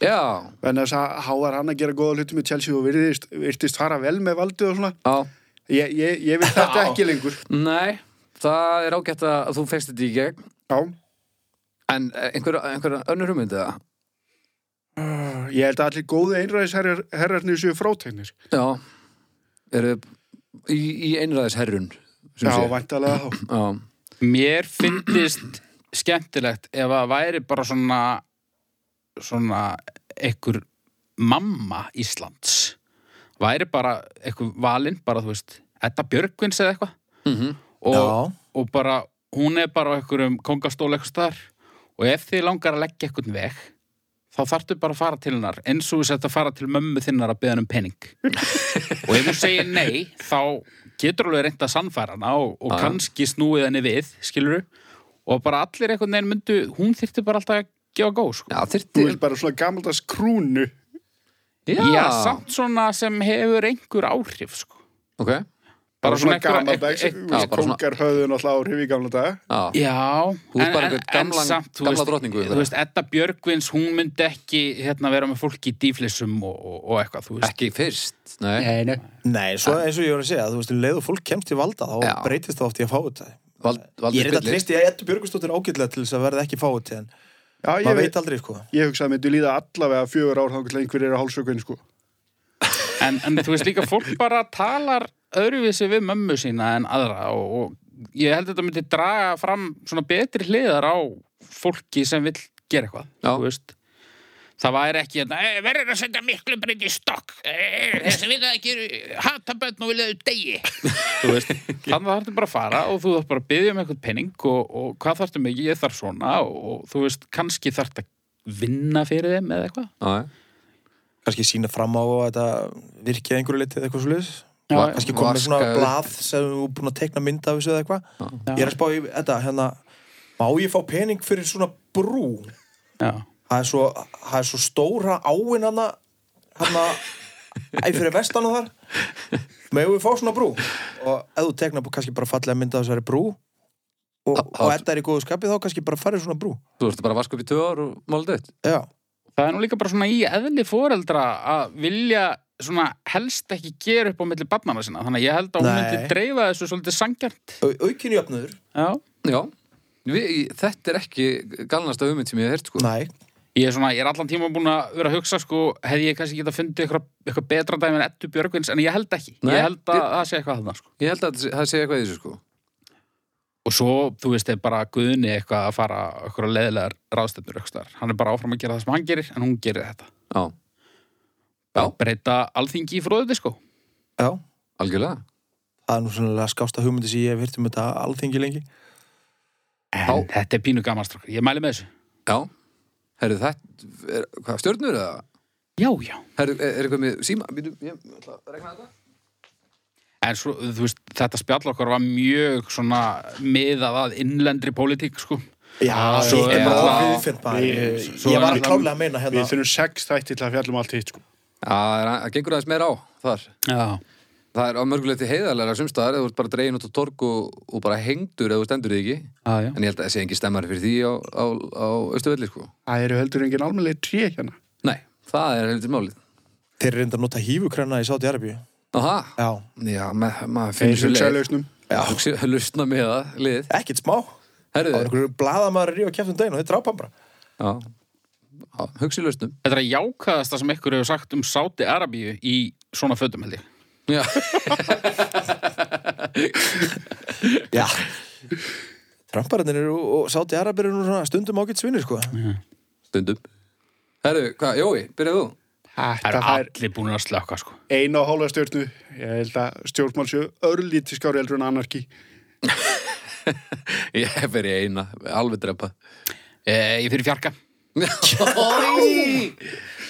Já, vegna þess að há var hann að gera góða hluti með Chelsea og virðist, virtist fara vel með valdið og svona já, ég, ég, ég vil þetta Já. ekki lengur nei það er ágætt að þú feist þetta í gegn já, en eh, einhver, einhver önnur hugmynd eða? ég held að allir góði einræðisherrarnir séu frátegnir Já eru í, í einræðisherrun sem já, sé. vantalega þá já Mér finnist skemmtilegt ef að væri bara svona svona einhver mamma Íslands væri bara einhver valinn bara þú veist, Edda Björgvins eða eitthvað Mhm. og, Já. og bara hún er bara á einhverjum kongastól eitthvað staðar og ef þið langar að leggja einhvern veg þá þarftu bara að fara til hennar eins og þess að fara til mömmu þinnar að beða hann um pening og ef þú segir nei þá getur alveg reynda að sannfæra hana og, og Já, já. kannski snúið henni við skilur og bara allir einhvern veginn myndu hún þyrfti bara alltaf að gefa góð sko. Já, þú þyrfti vil bara svona gammaldags krúnu Já, já, samt svona sem hefur einhver áhrif sko. Ok, bara einhverja- svona e- gammaldags einhver- Já, bara svona- kongar höfðun alltaf áhrif í gamla daga já, Já, Þú ert bara einhvern gamlan- þú gamla veist- drottningu, Þú það. veist, Edda Björgvins, hún myndi ekki hérna, vera með fólki í dýflissum og, og, og eitthvað, þú veist ekki fyrst Nei, Nei, nei. Nei, svo eins og ég var að segja, þú veist, um leið og fólk kemst í valda, þá Já. breytist það oft í að fá þetta. vald, Ég er valdur þetta spillir trist, ég ættu Björgustóttir ágætlega til þess að verða ekki fá þetta, en já, ég, maður veit, veit aldrei, sko. ég hugsa að myndi líða allavega fjögur ár þá einhverjir er að hálsökun sko En, en þú veist líka, fólk bara talar öðruvísi við mömmu sína en aðra og, og ég held að þetta myndi draga fram svona betri hliðar á fólki sem vill gera eitthvað Já. þú veist Það væri ekki hérna, "Eh, verður að setja miklu breyti í stokk, eh, þessi vilja ekki hata bönn og vilja þau degi. þú veist, þannig að þarftu bara að fara og þú þarf bara að byggja um einhvern penning og, og hvað þarftu mikið, ég þarf svona og, og þú veist, kannski þarftu að vinna fyrir þeim eða eitthvað. Kanski sína fram á að þetta virki að einhverju litið eitthvað svo liðs. Já, já. Kanski komið með svona Vaska- blað sem þú er búin að tekna mynda af þessu eða eitthvað. Já. Ég er að spá í þetta, hérna, má ég fá pening fyrir svona brú? Já. Það er svo, það er svo stóra áin hana, hana, æ, fyrir vestan og þar. Megum við fá svona brú? Og ef þú tekna kannski bara fallega mynda af þessari brú og, og þetta er í góðu skapi þá kannski bara farið svona brú. Þú ertu bara að vaska upp í tvö ár og mála þetta Já. Það er nú líka bara svona í eðli foreldra að vilja svona helst ekki gera upp á milli barnana sinna. Þannig að ég held að hún Nei. myndi dreifa þessu svolítið sangjart. Au, aukin jöfnur? Já. Já, Við, í- þetta er ekki galnasta hugmynd sem ég hef heyrt sko Nei. Ég er, svona, ég er allan tíma búin að vera að hugsa sko, hefði ég kannski getað fundið eitthvað, eitthvað betra dæmi en Eddu Björgvins, en ég held ekki Nei, ég held að það sé eitthvað þarna sko. Ég held að þetta sé- það segja eitthvað í þessu sko og svo, þú veist, er bara Guðni eitthvað að fara okkur að leðilegar ráðstefnur einhvers staðar. hann er bara áfram að gera það sem hann gerir en hún gerir þetta Já, Já. Bara breyta alþingi í sko. fróðu disko Já, algjörlega það er nú svona skásta hugmyndi sem ég hef hirt um þetta alþingi lengi en Já. þetta er pínu gaman strókar, ég mæli með þessu Já, herru þetta er, Hvað, stjörnur eða? já, já, Herru, er, er eitthvað með síma? Býtum, ég ætla að regna þetta en svo, þú veist þetta spjall okkar var mjög svona miðað að innlendri pólitík sko. Já, svo ég er er bara það- það viðfinn bara Ég, Svo ég er var það- klálega að meina Við hérna þurfum sex þætti til að fjallum allt hitt sko. Já, það er- það gengur aðeins meira á þar já, Það er á mörguleiti heiðarlega sumstaðar eða þú ert bara dregin út á torg og, og bara hengdur eða þú stendur þig ekki já, já En ég held að það sé engin stemmari fyrir því á, á, á Östuvelli sko Það eru heldur engin almennlega tré hérna Nei, það er heldur málið Þeir eru reynda að nota hífukræna í Sáti Arabíu Aha, Já, já, ma maður finnir Eins svo og leið sæljóksnum Hugsi- Hlusna með það, lið ekkert smá Eh. Það var Herru, einhverju bladamaður í og kæftum um daginn og þeir drápa hann bara já, já Hugsi lausnum Þetta er að jákaðasta sem ykkur hefur sagt um Sáti Arabíu í svona fötum held ég. Já, Já Trampararnir eru og Sáti Arabíu eru nú svona stundum ágætt svinir sko stundum Herru, hvað, Jói, byrjaðu þú? Það Þetta eru fær allir búin að slökka sko. eina og hálfa stjórnu Ég held að stjórnmál séu örlítið skári heldur en anarki Ég fer í eina, alveg drepa e, Ég fyrir fjarka Nei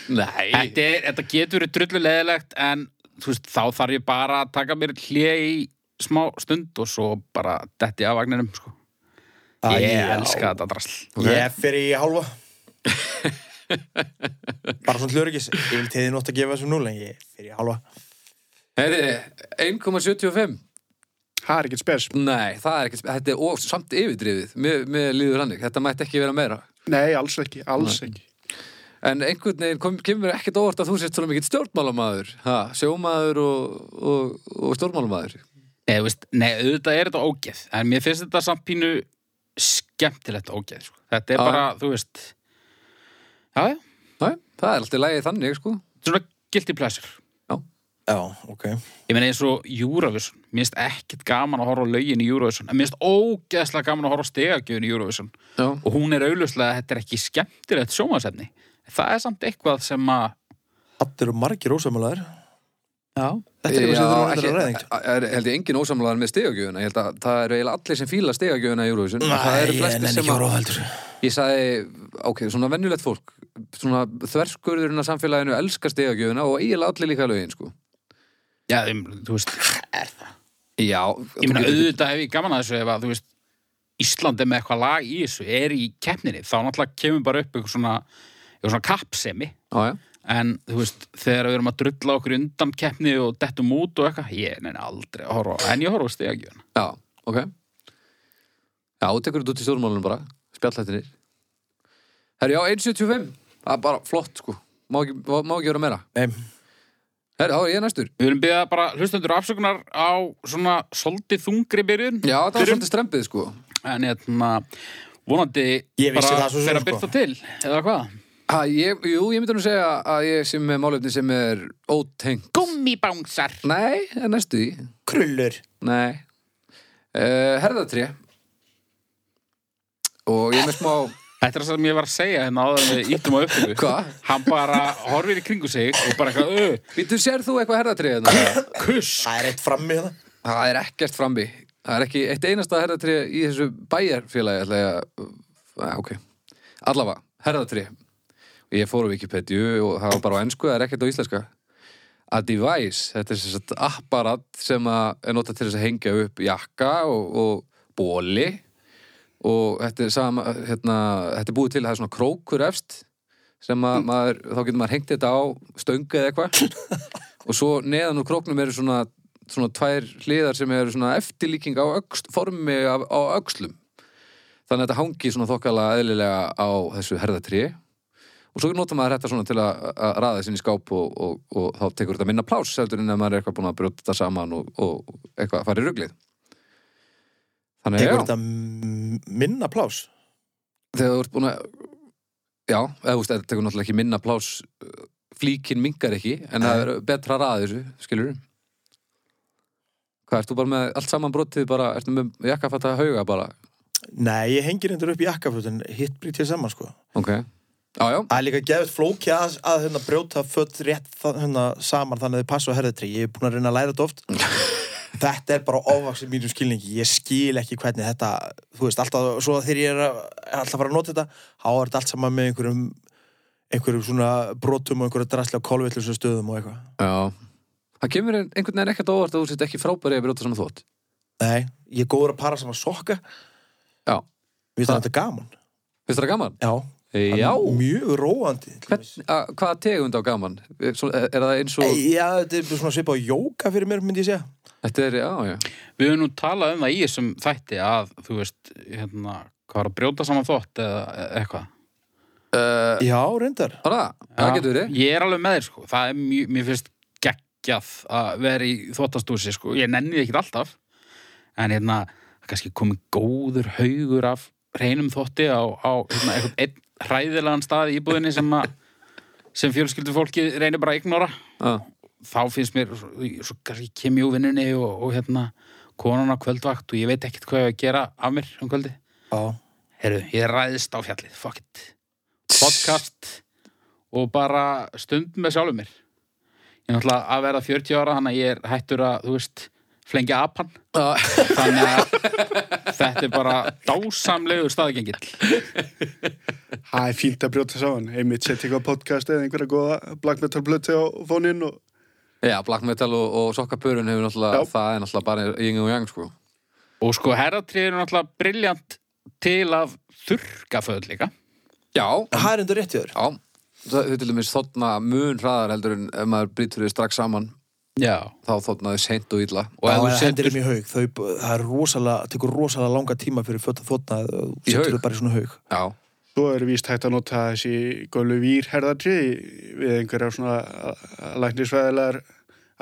Nei þetta, er, þetta getur verið drullu leðilegt en þú veist, þá þarf ég bara að taka mér hlje í smá stund og svo bara detti af vagninum sko. Æ, Ég já. elska þetta drasl Ég fer í hálfa Bara svona hlurikis Ég vil teði nótt að gefa þessum núl en ég fer í hálfa Herru, 1,75 Það er ekkert spes Nei, það er ekki, þetta er of, samt yfirdrifið Mér, mér líður hannig, þetta mætti ekki vera meira Nei, alls ekki, alls ekki En einhvern veginn kom, kemur ekkert óvart að þú sért svona mikill stjórnmálamaður ha, Sjómaður og, og, og stjórnmálamaður Nei, þú veist, nei, auðvitað er þetta ógeð en mér finnst þetta samt pínu skemmtilegt ógeð sko. Þetta er Já. bara, þú veist Já, já, Nei, það er alltaf lægið þannig, sko svona guilty pleasure Já, ok Ég meina eins og Eurovision, mér finnst ekkert gaman að horfa á lögin í Eurovision, en mér finnst ógeðslega gaman að horfa á stegagjöfin í Eurovision Já, og hún er auðlöslega að þetta er ekki skemmtilegt sjómasefni. Það er samt eitthvað sem að... Allir eru margir ósamalaður Já. Þetta er eitthvað sem þú ekki- reyndar að reyðing er, held ég engin ósamlaðar með stegagjöfuna Ég held að það eru eiginlega allir sem fíla stegagjöfuna í Eurovision Það eru flestir sem að ráðheldur Ég sagði, ok, svona venjulegt fólk Svona þverskurðurinn að samfélaginu elskar stegagjöfuna og eiginlega allir líka lögin, sko Já, um, þú veist, Já, ég þú meina getur- auðvitað hef ég gaman að þessu ef að, þú veist, Ísland er með eitthvað lag í þessu, er í keppninni, þá náttúrulega kemur bara upp eitthvað svona, eitthvað svona kappsemi, Já, já en þú veist, þegar við erum að drulla okkur í undan keppni og dettum út og eitthvað, ég neina aldrei að horfa, á- en ég horfa á stegagjöfina. Já, ok Já, þú tekur þetta út í stjórnmálunum bara Spjallættinir Herri, já, 1.75 Það er bara flott, sko Má ekki, má, má ekki vera meira Nei, Herri, þá er ég næstur Við erum byggða bara hlustendur afsökunar á svona soldið þungri byrjun Já, það var svolítið strempið, sko en hérna vonandi Ég vissi bara það svo sem, fer að sko. byrta til eða hvað? ha, ég, Jú, ég myndi nú segja að ég sem með málefni sem er ótengt Gummibánsar Nei, er næstu í krullur Nei uh, Herðatré Og ég er með smá Þetta er það sem ég var að segja hérna áður en við íttum á upptöku Hvað? Hann bara horfir í kringu sig og bara eitthvað "Ö, Vítur, sér þú eitthvað herðatré? hérna? þarna? Kuss Það er eitt frammi hérna Það er ekkert frammi Það er ekki eitt einasta herðatri í þessu bæjarfélagi ætla ég að að, ok, allavega, herðatri Ég fór á Wikipedia og það var bara á ennsku, það er ekkert á íslenska A device, þetta er sem sagt apparat sem að er notað til þess að hengja upp jakka og, og bóli og þetta er sama hérna, þetta er búið til, það er svona krókur efst sem að maður, þá getur maður hengt þetta á stöngu eða eitthvað og svo neðan úr króknum eru svona, svona tvær hliðar sem eru svona eftirlíking á öxt, formi af, á öxlum þannig að þetta hangi svona þokkala eðlilega á þessu herðatrí og svo notar maður þetta svona til að, að raða sinni í skáp og, og, og þá tekur þetta minna plás heldur en að maður er eitthvað búin að brjóta þetta saman og, og eitthvað að fara í ruglið Þannig að Tekur já, þetta m- minna plás þegar þú ert búin að já, eða þú veist, það tekur náttúrulega ekki minna plás flíkin mingar ekki, en það er betra rað þessu, skilur Hvað, ert þú bara með allt saman brotið bara, ertu með jakkafatta hauga bara, Nei, ég hengir endur upp í jakkafötin hitt brýt ég saman sko ok Já, já, Það er líka gefið flóki að, að hérna, brjóta fött rétt þa- hérna, saman þannig að þið passa á herðatri Ég er búin að reyna að læra þetta oft Þetta er bara óvaksið mínum skilningi Ég skil ekki hvernig þetta Þú veist, alltaf, svo þegar ég er að, er alltaf að fara að nota þetta Há er þetta allt saman með einhverjum einhverjum svona brotum og einhverju drasli á kolvillusum stöðum og eitthvað já Það kemur ein- einhvern veginn ekkert á óvart að þú sért ekki frábæri að brjóta saman þvott Nei, ég er góður að para saman sokka Já, Við það þetta gaman finnst þér það gaman? Já, Já, Mjög róandi til Hvern, dæmis. að, hvaða tegund á gaman? Er, svo- er það eins og, Já, þetta er svona svipað á jóka fyrir mér myndi ég segja þetta er, já, já Við höfum nú talað um það í þessum þætti að, þú veist, hérna, hvað var að brjóta saman þótt eða eða eitthvað. Já, reyndar Bara, það getur verið Ég er alveg með þér, sko. Það er mjög, mér finnst geggjað að vera í þóttastúsi, sko. Ég nenni því ekkert alltaf. En hérna, það er kannski komið góður haugur af reynum þótti á, á hérna, einhvern einn hræðilegan stað í íbúðinni sem að sem fjölskyldur fólki reynir bara að ignora Já, þá finnst mér, svo, svo kannski kem ég úr vinnunni og, og hérna konan á kvöldvakt og ég veit ekkert hvað ég á að gera af mér um kvöldi Já Heru, ég ræðist á fjallið, fuck it podcast og bara stund með sjálfum mér ég er náttúrulega að vera 40 ára þannig að ég er hættur að, þú veist flengja apan já, þannig að þetta er bara dásamlegur staðgengill Það er fínt að brjóta saman. Einmitt setja eitthvað podcast eða einhverja góða black metal blötu á fónin og já black metal og, og sokkapörun hefur náttúrulega, Já. það er náttúrulega bara yngið og jang, sko og sko herratrið er náttúrulega briljant til að þurrka föð líka Já, Það er enda rétt hjá þér já Það er til dæmis þotna mun hraðar heldur en ef maður brýtur þið strax saman já þá þotnaði seint og illa og Já, ef eða þú hendir setur þeim í haug þau, það er rosalega, tekur rosalega langa tíma fyrir fött að þóttna Í haug? setur þau bara í svona haug Já, svo er víst hægt að nota þessi gólu vírherðatri við einhverja svona læknisfæðilegar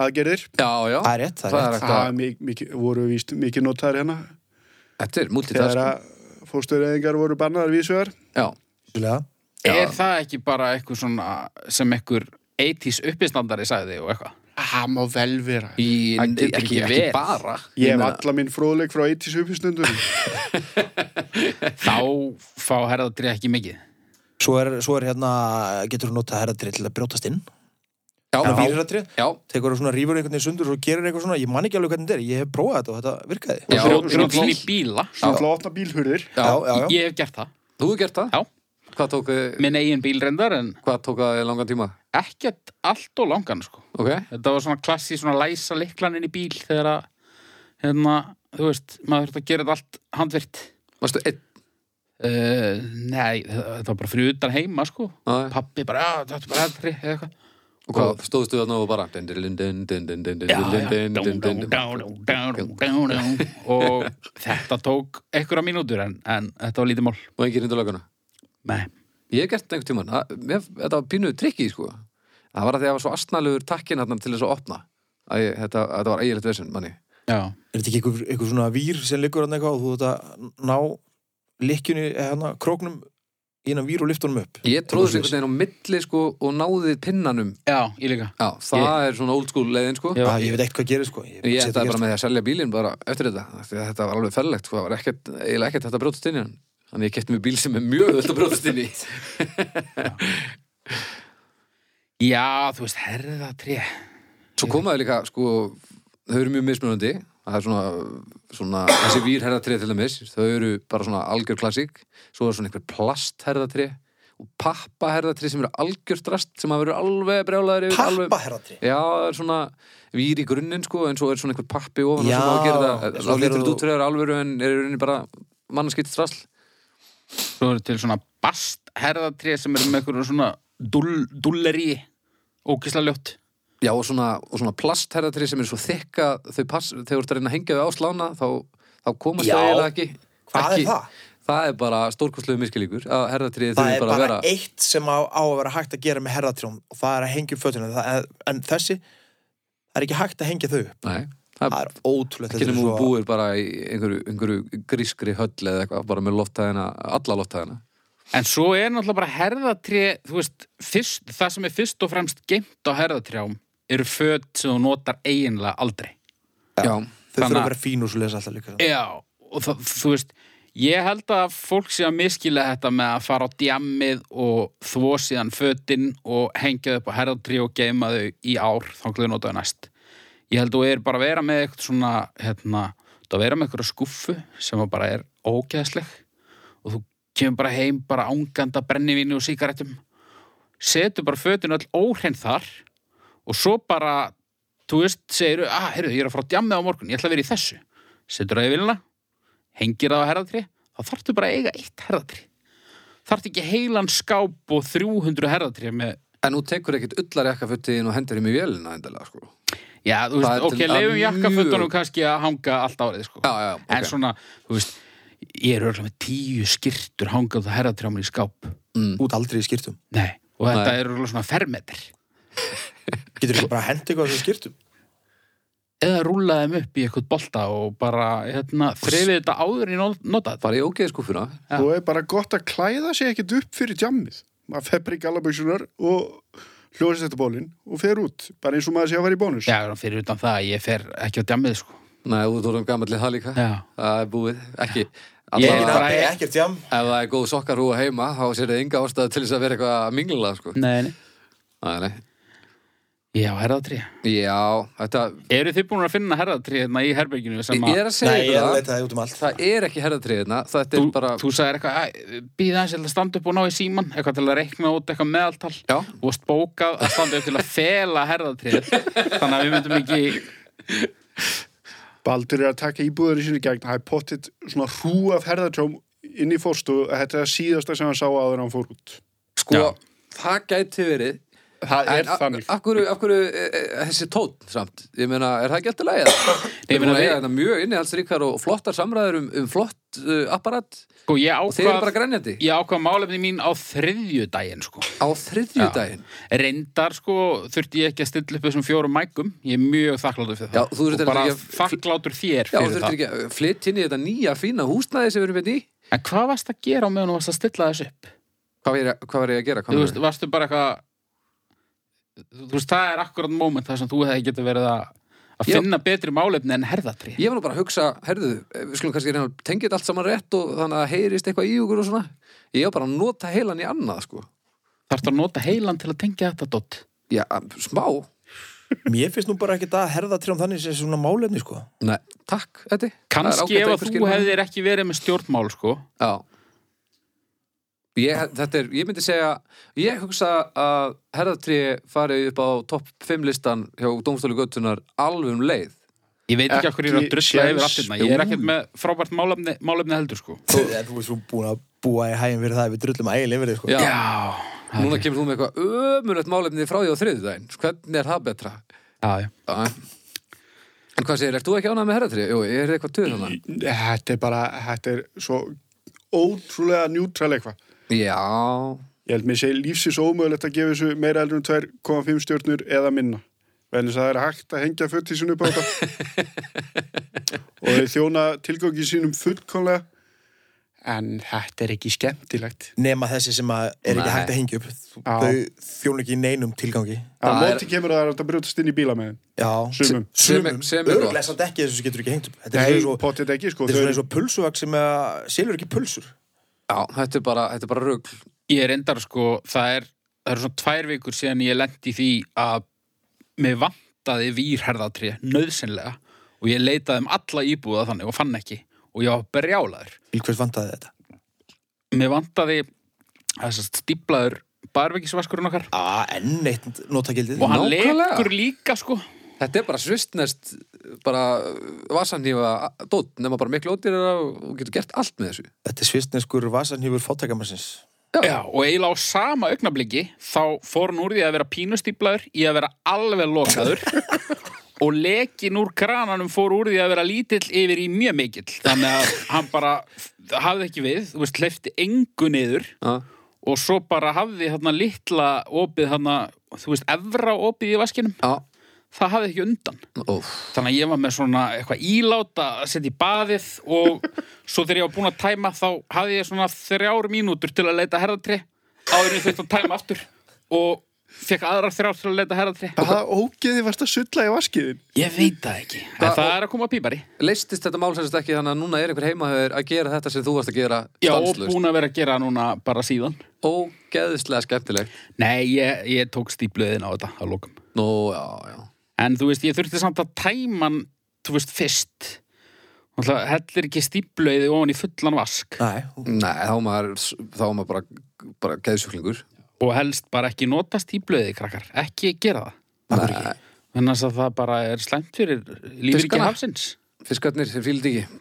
aðgerðir. já, já Það er rétt, það er rétt. hægt Það að- mik mikið, voru víst mikið notaðar hérna Þetta er þegar multitask að fóstureyðingar voru bannaðar vísuðar. Já, Vissulega. Já. Er það ekki bara eitthvað svona sem eitthvað 80s uppistandari sagði og eitthvað? Það má vel vera. í, Það ekki, getur ekki, ekki verið. bara Ég hef meina- alla minn fróðleik frá 80s uppistundum. Þá fá herðadrið ekki mikið. svo er, svo er hérna, getur þú notað herðatrið til að brjótast inn Já, en já, vírherðatrið, já, tekur þú svona rífur einhvern veginn sundur og gerir eitthvað svona, ég man ekki alveg hvernig þetta er ég hef prófað þetta og þetta virkaði Já, Brjóta svona brjóta inn í flott. bíla. Svo ætla að opna bílhurðir. já, já, já, Ég hef gert það. Þú hefur gert það? Já. Hvað tók, þið- Minn eigin bílrendar en hvað tók það í langan tíma? ekkert allt og langan sko. Ok, Þetta var svona klassi svona læsa liklan inn í bíl þegar að, hérna, þú veist, maður þurft að gera þetta allt handvirt. varstu einn? Uh, nei, þetta var bara fyrir utan heima sko. Já, já. Pappi bara, já, þetta er bara herðadrið eða eitthvað. Og hvað, stóðstu þarna og bara din, din, din, din, din, din, din, din, Já, din, já. din, Dú, din, din, din. dú, dú, dú, dú, dú, dú. og þetta tók einhverja mínútur en, en þetta var lítið mál Og engin hindur löguna Nei. Ég hef gert þetta einhvern tímann Það- mér- Þetta var pínuð trikki, sko Það var að því að það var svo astnalugur takkin hérna til þess að opna að ég, þetta, þetta var eiginlegt vesinn, manni Já. er þetta ekki einhver, einhver svona vír sem liggur hann eitthvað og þú þetta ná likkjunni, eða hana, króknum innan vír og lyftunum upp Ég tróðis einhvern veginn á milli, sko og náði pinnanum Já, ég líka Já, það er svona old school leiðin, sko Já. Já, ég veit ekkert hvað gerir sko Ég sé ætlaði þetta bara gert. með því að selja bílinn bara eftir þetta af því að Þetta var alveg ferlegt, sko, það var ekkert, eiginlega ekkert þetta brjótast inn í hann Þannig ég kefti mér bíl sem er mjög auðvitað brjótast inn í Já, þú veist, herðatré Svo komaði líka, sko, þau eru mjög mismunandi Það er svona, svona þessi vírherðatrið til dæmis Þau eru bara svona algjör klassík Svo er svona einhver plastherðatrið og pappaherðatrið sem eru algjör drast sem að verður alveg brjálaður yfir alveg... Pappa herðatrið Já, það er svona vír í grunninn, sko en svo er svona einhver pappi ofan og Já, sem á að gera svo það Það lítur gerir þetta þú- út fyrir að vera alvöru en er í rauninni bara mannskitt strasl Svo eru til svona bast herðatré sem eru með einhverjum svona dull, dulleri ókisla ljótt Já, og svona, og svona plastherðatri sem er svo þykka þau pass, þegar þú ert að reyna að hengja þau á slána þá, þá komast Já. þau eiginlega ekki Hvað er ekki, það? Það er bara stórkostlegu miskilíkur að herðatrið það þurfi er bara að bara vera eitt sem á, á að vera hægt að gera með herðatrjón og það er að hengja upp fötuna Það er- en þessi, það er ekki hægt að hengja þau upp Nei, það það er er ótrúlegt ekki þetta er nefnum svo- búir bara í einhverju, einhverju grískri höll eða eitthvað, bara með loftæðina alla loftæðina En svo er náttúrulega bara herðatré, þú veist, fyrst, það sem er fyrst og fremst geimt á herðatrjám eru föt sem þú notar eiginlega aldrei. Já, Þau þurfa Þannig að- að vera fín og svo lesa alltaf líka Já, og það, þú veist, ég held að fólk sé að miskila þetta með að fara á djammið og þvó síðan fötin og hengja þau upp á herðatré og geima þau í ár, þá þau nota þau næst. Ég held að þú er bara að vera með eitthvað svona, hérna, þú að vera með eitthvað skúffu sem að bara er ógeðsleg og þú kemur bara heim bara ánganda brennivínu og sígarettum setur bara fötin öll óhrein þar og svo bara þú veist, segir, að, ah, heyrðu, ég er að fara á djammið á morgun, ég ætla að vera í þessu setur það í vilna, hengir það á herðatri þá þarftu bara að eiga eitt herðatri þarftu ekki heilan skáp og 300 herðatri með En nú tekur ekkit ullar jakkafötin og hendur þeim í vélina endilega, sko. Já, þú Það veist, er ok, til- að leifum mjög- jakkafötunum kannski að hanga allt árið, sko. Já, já, ok. En svona, þú veist, ég er örugglega með tíu skyrtur hangað á herðatrjáman í skáp. Mm. Út aldrei í skýrtum Nei, og þetta Nei. er örugglega svona fermetir. Getur ekki bara að henda eitthvað á þessu skýrtum Eða rúlaði þeim upp í eitthvað bolta og bara, hérna, þrefið þetta áður í nó- nota þetta. Bara í ógeðskúfuna. Já. Þú er bara gott að klæða sig ekkit upp fyrir djammið. Maður fer bara í galaböksunar og hljóðast þetta bólinn og fer út. Bara eins og maður sé að fara í bónus. Já, fyrir utan það, ég fer ekki á djamið, sko. Nei, þú tóðum gammallið það líka. Já. Það er búið. Ekki. Ég er Allavega- bara- Nei, Ekkert jam Ef það er góð sokkarúa heima, þá sér það enga ástæðu til þess að vera eitthvað að mingla, sko. Nei, nei. Nei, nei. Ég á herðatrý. Já, þetta... Eru þið búin að finna herðatrý hérna í herberginu sem Ég að... er að segja Nei, ég ykkur er að það. leita það út um allt Það er ekki herðatriðina, þetta Þú, er bara... þú sagðir eitthvað, býða eins til að standa upp og ná í síman, eitthvað til að reikna út eitthvað meðaltal Já, og varst bókað að standa upp til að fela herðatrið þannig að við myndum ekki Baldur er að taka íbúður í sinni gegn. Það er pottitt svona hrú af herðartjóm inn í fórstu að þetta er það síðasta sem hann sá áður en hann fór út. sko, Já. það gæti verið. Það er a- þannig. Af hverju, af hverju e, e, þessi tótt samt? Ég meina, er það ekki alltaf lægið? Ég Ég meina, meina, við- við erum mjög innihaldsríkar og flottar samræður um, um flott uh, apparat sko, ég og þeir eru bara ákvað, grænjandi ég ákvað málefni mín á þriðju daginn sko. á þriðjudaginn. reyndar sko, þurfti ég ekki að stilla upp þessum fjórum mækum, ég er mjög þakklátur fyrir Já, það þú þurftir og bara ekki að- þakklátur þér Já, þú fyrir þurftir það ekki að flytta inn í þetta nýja fína húsnæði sem við erum hérna í. en hvað varst að gera á meðan þú varst að stilla þess upp Hvað var ég, hvað var ég að gera? Hvað þú meinarðu? veist, varstu bara eitthvað þú veist, það er akkurat moment þar sem þú hefði getið verið að, að Já. finna betri málefni en herðatri Ég var nú bara að hugsa, herðu, við skulum kannski reyna að tengja þetta allt saman rétt og þannig að heyrist eitthvað í okkur og svona. Ég var bara að nota heilan í annað, sko. þarftu að nota heilan til að tengja þetta dott Já, smá. Mér finnst nú bara ekki það að herða trjám þannig sem svona málefni sko Nei, takk, Eddi. Það er kannski ágætt að ef að einhver þú skilur það. hefðir ekki verið með stjórnmál sko Já. Ég, þetta er, ég myndi segja, ég hugsa að herðatri farið upp á topp 5 listan hjá Dómstóli Götunar alveg um leið. ég veit ekki okkur ég er að Ekki drusla séns. yfir aftirna ég er ekkert með frábært málefni, málefni heldur sko Þú en þú veist, þú er búin að búa í hægum fyrir það ef við drullum að eiginlega verið sko já, Núna kemur þú með eitthvað ömurlegt málefni frá því á þriðudaginn. Hvernig er það betra? já, já. Já. En hvað segir, ert þú ekki ánægð með herðatri? Jú, ég er eitthvað töð hana. Þetta er bara, þetta er svo ótrúlega njútrál eitthvað. Já, Ég held mér segi lífsins ómögulegt að gefa þessu meira eldur en 2,5 stjórnur eða minna. Vegna þess að það er hægt að hengja fötti sinu upp á þetta. og þau þjóna tilgangi sínum fullkomlega. En þetta er ekki skemmtilegt. Nema þessi sem að er ekki Nei. hægt að hengja upp Já. Þau þjónu ekki í neinum tilgangi Á Það er- móti kemur að það er hægt að brjótast inn í bíla með þeim. Já Sumum. Sem- Sumum sem er gott. Örglega samt ekki þessu sem getur ekki hengt upp Þetta er Nei, svona eins og- potið ekki, sko. þetta er Þau svona eru- eins og pulsuvak sem að selur ekki pulsur Já, þetta er bara, þetta er bara rugl. ég er endar sko það er, það er svona tvær vikur síðan ég lendi því að mér vantaði výrherðatri nöðsynlega og ég leitaði um alla íbúða þannig og fann ekki og ég var berjálaður Til hvers vantaði þetta? mér vantaði þessast stíplaður barvekisvaskurinn okkar Á, enn eitt notagildið og hann Nákvæmlega. lekur líka sko Þetta er bara svistnest, bara vasanhífa dótt, nema bara miklu ódýrara og getur gert allt með þessu. Þetta er svistneskur vasanhífur fátækamarsins Já, og eiginlega á sama augnabliki þá fór hann úr því að vera pínustýplaður í að vera alveg lokaður og lekin úr krananum fór úr því að vera lítill yfir í mjög mikill þannig að hann bara hafði ekki við, þú veist, hleyfti engu niður Já, og svo bara hafði þarna litla opið þarna, þú veist, evra opið í vaskinum já, það hafði ekki undan Óf. þannig að ég var með svona eitthvað íláta að setja í baðið og svo þegar ég var búin að tæma þá hafði ég svona þrjár mínútur til að leita herðatri áður en ég þurfti að tæma aftur og fekk aðrar þrjár til að leita herðatri Hvaða ógeði varst að sulla í vaskiðin? ég veit það ekki en Hva- það er að koma pípari Leistist þetta mál sem sagt ekki þannig að núna er einhver heimahöður að gera þetta sem þú varst að gera já og stanslust. búin að vera að gera núna bara síðan Ógeðslega skemmtileg. nei ég, ég tók stípluðin á þetta að lokum Nú, já, já. En þú veist, ég þurfti samt að tæma hann, þú veist, fyrst. Og það hellir ekki stíplauði ofan í fullan vask. Nei, Nei, þá var maður, þá var maður bara, bara geðsjúklingur. Og helst bara ekki nota stíplauði, krakkar. Ekki gera það. Nei, Þannig að það bara er slæmt fyrir lífriki Fiskana. hafsins. fiskarnir, þeir fíldi ekki.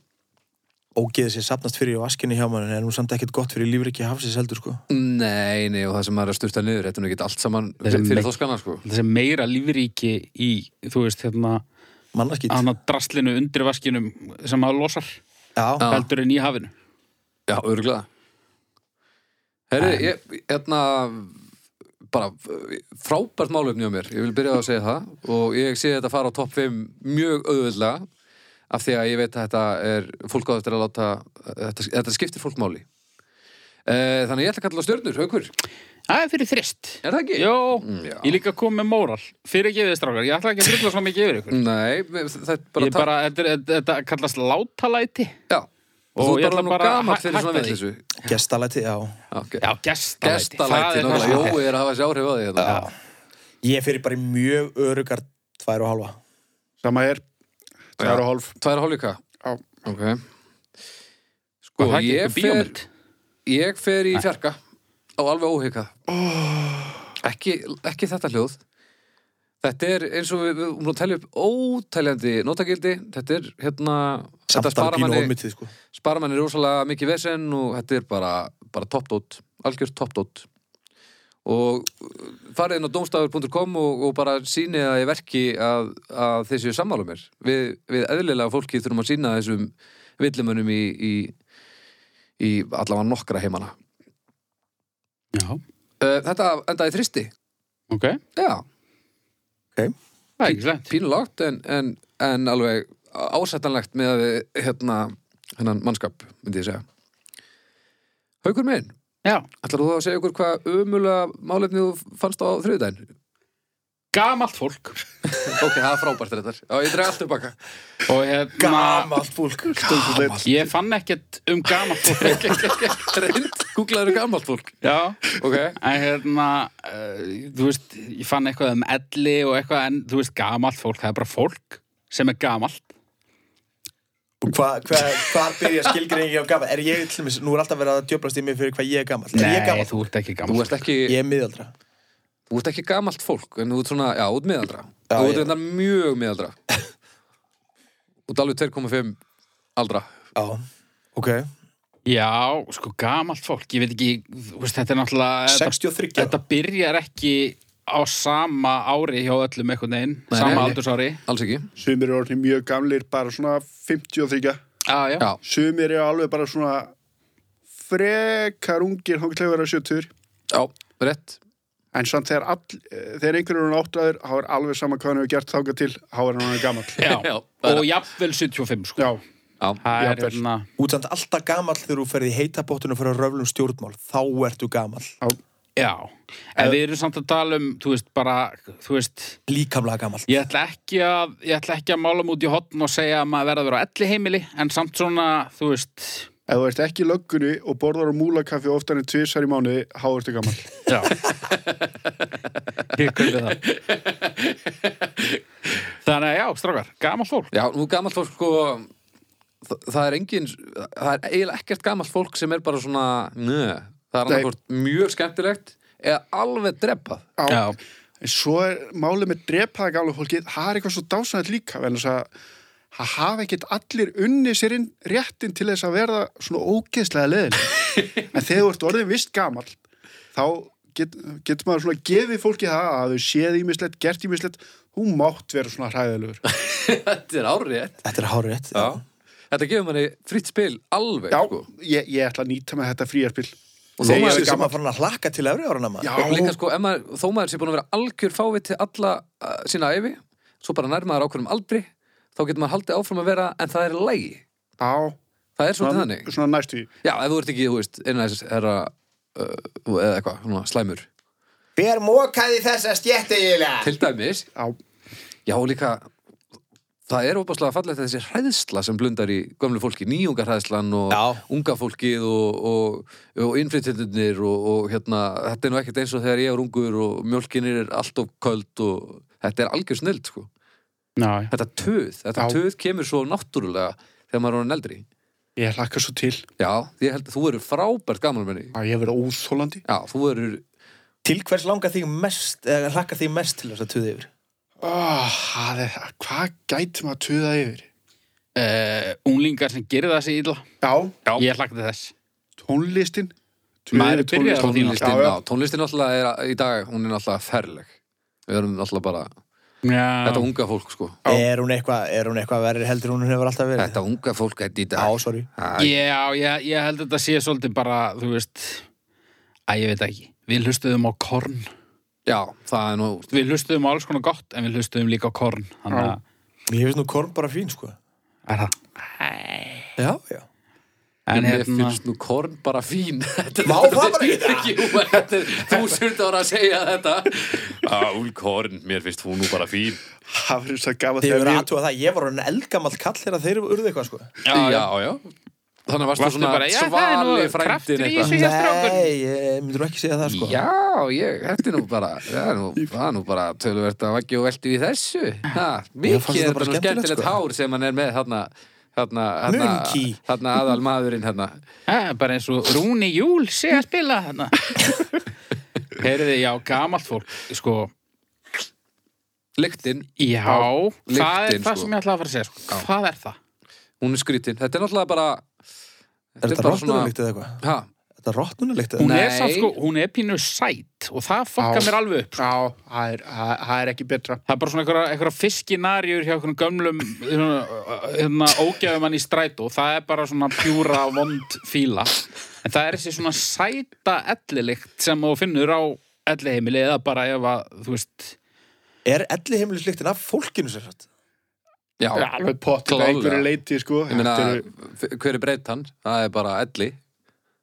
ógeðið sér sapnast fyrir í vaskinni hjá mann en nú samt ekkert gott fyrir lífriki hafsins heldur sko Nei, nei, og það sem maður er að sturta niður, þetta er nú ekki allt saman Þessi fyrir meik- þoskana, sko. Þessi meira lífriki í, þú veist, hérna, Mannaskýtt hana draslinu undir vaskinum sem maður losar Já, Já. heldur en í hafinu. Já, örgulega. Herri, ég, hérna, bara eh, frábært málefni á mér, ég vil byrja á að segja það og ég sé þetta fara á topp 5 mjög auðvöldlega af því að ég veit að þetta er, fólk á þetta að láta, þetta, þetta skiptir fólk máli. Eh, Þannig að ég ætla að kalla á stjörnur, haukur, Það er fyrir þrist. er það ekki? Mm, Jó, já. ég líka kom með móral. Fyrir gefið strákar, ég ætla ekki að drulla svona mikið yfir ykkur. Nei, það er bara, Ég bara, þetta, er- þetta kallast látalæti. Já, Og og þú er ég bara ætla nú bara að gamall hæ- fyrir svona hætta því. vitleysu. gestalæti, já Já, ok. Já, gestalæti. Gestalæti, Það er það sem náttúrulega, er. Jói er að hafa sér áhrif á því hérna. Já. Ég fyrir bara í mjög örugar tvær og halva Sama er, það Já. og hálf. Tvær og hálfleika Já. Ok Sko, Sko, það er ekki ég einhver fer, bíómynd. ég fer í fjarka á alveg óhyggað ekki, ekki þetta hljóð Þetta er eins og við, við um að telja upp óteljandi notagildi Þetta er hérna Þetta Samt alveg spara pínu manni, ómyndið sko spara manni rosalega mikið vesen og þetta er bara, bara toppdót algjörst toppdót og uh, farið inn á domstafur.com og, og bara sýnið að ég verki að, að þeir séu sammála mér við, við eðlilega fólki þurfum að sýna þessum villimönnum í, í, í allavega nokkra heimana Já, uh, Þetta endaði í þristi ok. Já, Það er ekki slæmt. pínulagt en, en, en alveg ásættanlegt með að við hérna hennan mannskap, myndi ég segja Haukur minn Já. Ætlar þú að segja okkur hvað umulega málefni þú fannst á þriðudaginn? Gamalt fólk. Ok, það er frábært þetta. Já, ég dreg allt tilbaka. Og hérna... Gamalt fólk Gamalt. Ég fann ekkert um gamalt fólk. Reynd, googlaður gamalt fólk. Já. Ok. En hérna, uh, þú veist, ég fann eitthvað um elli og eitthvað, en þú veist, gamalt fólk, það er bara fólk sem er gamalt. Og hvað hva, hva byrja skilgreiningi á gammal? Er ég til mér, nú er alltaf verið að djöblast í mig fyrir hvað ég er gammal Er ég gammal? þú ert ekki Þú gamalt. ert ekki, Ég er miðaldra þú ert ekki gamalt fólk, en þú ert svona, já, út miðaldra. Já, þú ert ég- þetta mjög miðaldra. Út alveg 2,5 aldra. Já, ok Já, sko, gamalt fólk, ég veit ekki, þú veist, þetta er náttúrulega... þetta- 63 ára. Þetta byrjar ekki á sama ári hjá öllum einhvern veginn, Nei, sama nei. aldursári. Alls ekki. Sumir eru orðin mjög gamlir, bara svona 53. Já, já. Já. Sumir eru alveg bara svona frekar ungir, þá til að vera 70. Já, rétt. En samt þegar, all, eh, þegar einhverjur eru áttræður, þá er alveg sama hvað hann hefur gert þáka til, þá er hann orðinn gamall. Já, Já, það er- og jafnvel 75 sko Já, Já. Það er jafnvel. hérna Útsamt alltaf gamall þegar þú ferði í heitabóttinu og fyrir að röflum stjórnmál Þá ertu gamall Já, en við erum samt að tala um þú veist bara, þú veist Líkamlega gamall ég ætla ekki að, ég ætla ekki að mála mút í hotn og segja að maður verða að vera á elli heimili en samt svona, þú veist ef þú ert ekki í löggunni og borðar á múlakaffi oftar en tvisar í mánuði, þá ertu gamall. Já Ég kaupi það Þannig að já, strákar, gaman fólk Já, nú gamalt fólk, sko, það, það er engin, það er eiginlega ekkert gamalt fólk sem er bara svona, nö, það er Nei. annarkvort mjög skemmtilegt eða alveg dreppað. Já. En svo er málið með drepaða gamla fólkið, það er eitthvað svo dásanett líka, en þess að það hafa ekkert allir unni sér inn réttin til þess að verða svona ógeðslega leðileg. en þegar þú ert orðin vist gamall, þá get, getur maður svona gefið fólki það að þau séð ímislegt, gert ímislegt, þú mátt vera svona hræðilegur. Þetta er árið. Þetta er hárið Já. Þetta gefur manni fritt spil alveg, Já, sko. ég, ég ætla að nýta með þetta fríarpil Og Þegar þó ég maður, er sem að fara að hlakka til efri árana maður Já, og líka sko, ef maður, þó maður sé búin að vera algjör fávit til alla uh, sína æfi, svo bara nærmaður ákveðum aldri þá getur maður haldið áfram að vera en það er lægi, Já, það er svolítið svona, þannig svona næstu í já, ef þú ert ekki, þú veist, innan þess herra uh, eða eitthvað, svona slæmur Hver mókaði þessa stjætti eiginlega? til dæmis, Já, já líka það er opaslega fallegt þessi hræðsla sem blundar í gömlu fólki, nýjungarhræðslan og Já. unga fólkið og, og, og innflytjendunir og, og hérna, þetta er nú ekkert eins og þegar ég er ungur og mjólkinir er allt of köld og þetta er algjör snild sko. Já, já. þetta töð, þetta Já. töð kemur svo náttúrulega þegar maður er orðin eldri ég hlakka svo til já, ég held að þú eru frábært gamanmenni Já, ég hef verið óþólandi já, þú eru, Til hvers langar þig mest, eða hlakkar þig mest til þess að tuði yfir? oh, það er, Hvað gæti maður að tuða yfir? Uh, unglingar sem gerir það sér illa Já, Ég hlakti þess tónlistin Maður Tuða byrjar yfir á því tónlistin. tónlistin Já, já. á, tónlistin alltaf er í dag, hún er alltaf ferleg við erum alltaf bara, Já, þetta unga fólk sko Já. Er hún eitthvað eitthva verri heldur en hún hefur alltaf verið? þetta unga fólk er í Já, dag sorry. Æ, já ég, ég held að þetta sé svolítið bara, þú veist Æ, ég veit ekki Við hlustuðum á korn já, það er nú Við hlustuðum á alls konar gott en við hlustuðum líka á korn Þannig Já. að, Ég finnst nú korn bara fín, sko. er það Já, já. En mér hérna, finnst nú korn bara fín Þetta- Má þetta- það bara ekki það? Jú, þetta er þúsund ára að segja þetta Ál korn, mér finnst hún nú bara fín Það verður svo gaman Þið þegar verður við aðtúa það, ég var orðin eldgamall kall þegar þeir urðu eitthvað, sko. já, já, já, já, Þannig varstu, Varstu svona bara, já, það er nú svali kraftur í frændin eitthvað þessu. Þú hér strákur. Nei, ég myndur ekki segja það, sko. Já, ég, þetta er nú bara það er nú, það er nú bara töluvert að vakja og velti við þessu ha, Mér Mikið fannst er þetta bara þetta nú skemmtilegt, skemmtilegt sko. hár sem hann er með þarna þarna, þarna, Munki. þarna aðal maðurinn þarna. Það er bara eins og Rúni Júl sé að spila þarna. Heyriði, já, gamalt fólk, sko, Lyktin, já, það er lyktin, það sko. sem ég ætlaði að fara að segja, sko. Hvað er það? hún er skrítin Þetta er náttúrulega bara Er þetta rottnunalikt eða eitthvað? Ha, Þetta rottnunalikt eða Hún eitthvað? er Nei. samt, sko, hún er pínu sætt og það fokka Já. mér alveg upp. sko. Já, það er, það það er ekki betra Það er bara svona einhverja, einhverja fiskinarjur hjá einhverjum gömlum hérna, hérna, ógæfumann í strætó. Það er bara svona pjúra vond fíla. En það er þessi svona sæta ellilikt sem þú finnur á elliheimili eða bara ef að, þú veist, Er elli heimilisliktin af fólkinu sér satt? já, Já, alveg pottir Klárlega. einhverju leiti sko. ég meina Þetta eru- hver er breytan? Það er bara elli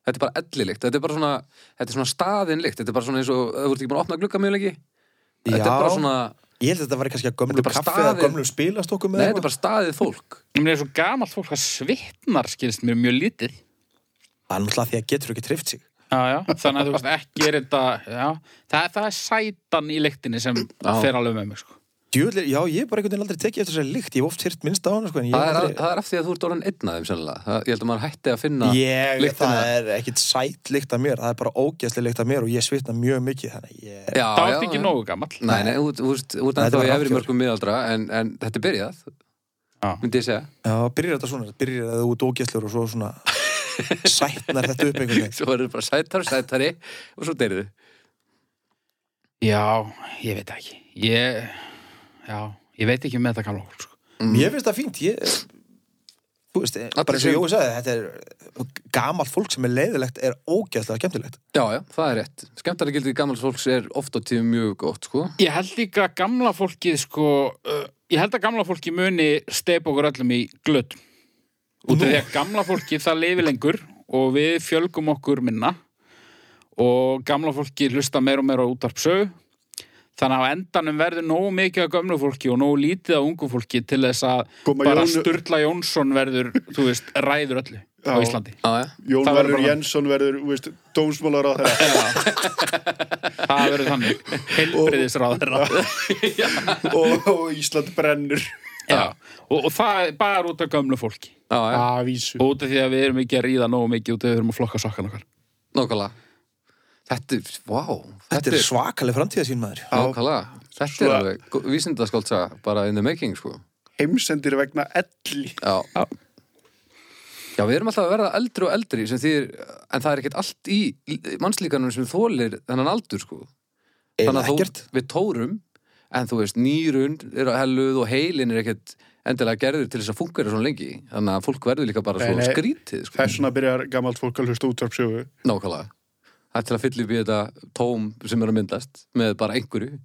Þetta er bara ellilikt, þetta er bara svona þetta er svona staðinlikt, þetta er bara svona eins og þú ert ekki búin að opna glugga mjög lengi Þetta er bara svona, Ég held að þetta var kannski að gömlu Þetta er bara kaffi eða staðir. gömlu spilastokkum nei, eða þetta er eitthvað. bara staðið fólk ég meina, þessu gamalt fólk það svitnar skilst mér mjög lítið. Það er náttúrulega því að getur ekki trift sig. Já, já, þannig að þú veist ekki er þetta já, það, það er sætan í lyktinni sem fer alveg með mig sko. Djúlega, já, ég er bara einhvern veginn aldrei tekið eftir þessari lykt. Ég hef oft hýrt minnst á hana, sko, en ég Það er, hef að, aldrei... það er af því að þú ert orðin einn af þeim sennilega. Það, ég held að maður hætti að finna Ég, lyktina. það er ekkit sæt lykt af mér, það er bara ógæsli lykt af mér og ég svitna mjög mikið, þannig að ég... Já, Það já, er ekki já. nógu gamall Nei, nei, þú- þú veist, þú ert Þetta ennþá var í efri rafgjör. mörgum miðaldra en, en þetta er byrjað, já. myndi ég segja Já, byrjar þetta svona, byrjar þetta út ógæstlur og svo svona sætnar þetta upp einhvern veginn. Svo verður bara sætar, sætari og svo deyrðu já, ég veit ekki ég, já, ég veit ekki um þetta gamla fólk sko. Mér finnst það fínt, ég... Þú veist, bara eins og Mm. sem- Jói sagði, þetta er gamalt fólk sem er leiðilegt, er ógæslega skemmtilegt. Já, já, það er rétt Skemmtari gildið gamals fólks er oft á tíðum mjög gott, sko ég held líka að gamla fólkið sko, uh, ég held að gamla fólki muni steipa okkur öllum í glödd út af því að gamla fólki það lifi lengur og við fjölgum okkur minna og gamla fólki hlusta meira og meira á útarpsögu þannig að á endanum verður nógu mikið af gömlu fólki og nógu lítið af ungu fólki til þess að Koma bara Jónu- Sturla Jónsson verður, þú veist, ræður öllu á Já. Íslandi. Já, já, Jón það verður Verður bara- Jensson verður þú veist, dómsmálar á þeirra Það verður þannig, heilbriðisráður og, og Ísland brennur og, og það er bara út af gömlu fólki já, já, Avísu og út af því að við erum ekki að ríða nógu mikið út af því að við erum að flokka sokkan okkar nákvæmlega Þetta er, vá, þetta, Þetta er svakaleg framtíðasín maður. Nákvæmlega, þetta Svo- er alveg Vísindaskáltsa bara in the making, sko Heimsendir vegna elli Já. Já, við erum alltaf að verða eldri og eldri sem þýr, en það er ekkert allt í mannslíkanum sem þólir þennan aldur sko. Eða þó- ekkert. við tórum, en þú veist nýrun er að helluð og heilin er ekkert endilega gerður til þess að fungera svona lengi þannig að fólk verður líka bara Nei, svo nei. skrítið sko. Þess vegna byrjar gamalt fólk að hlusta útvarpsögu Nákvæmlega Það er til að fylla upp í þetta tóm sem er að myndast með bara einhverju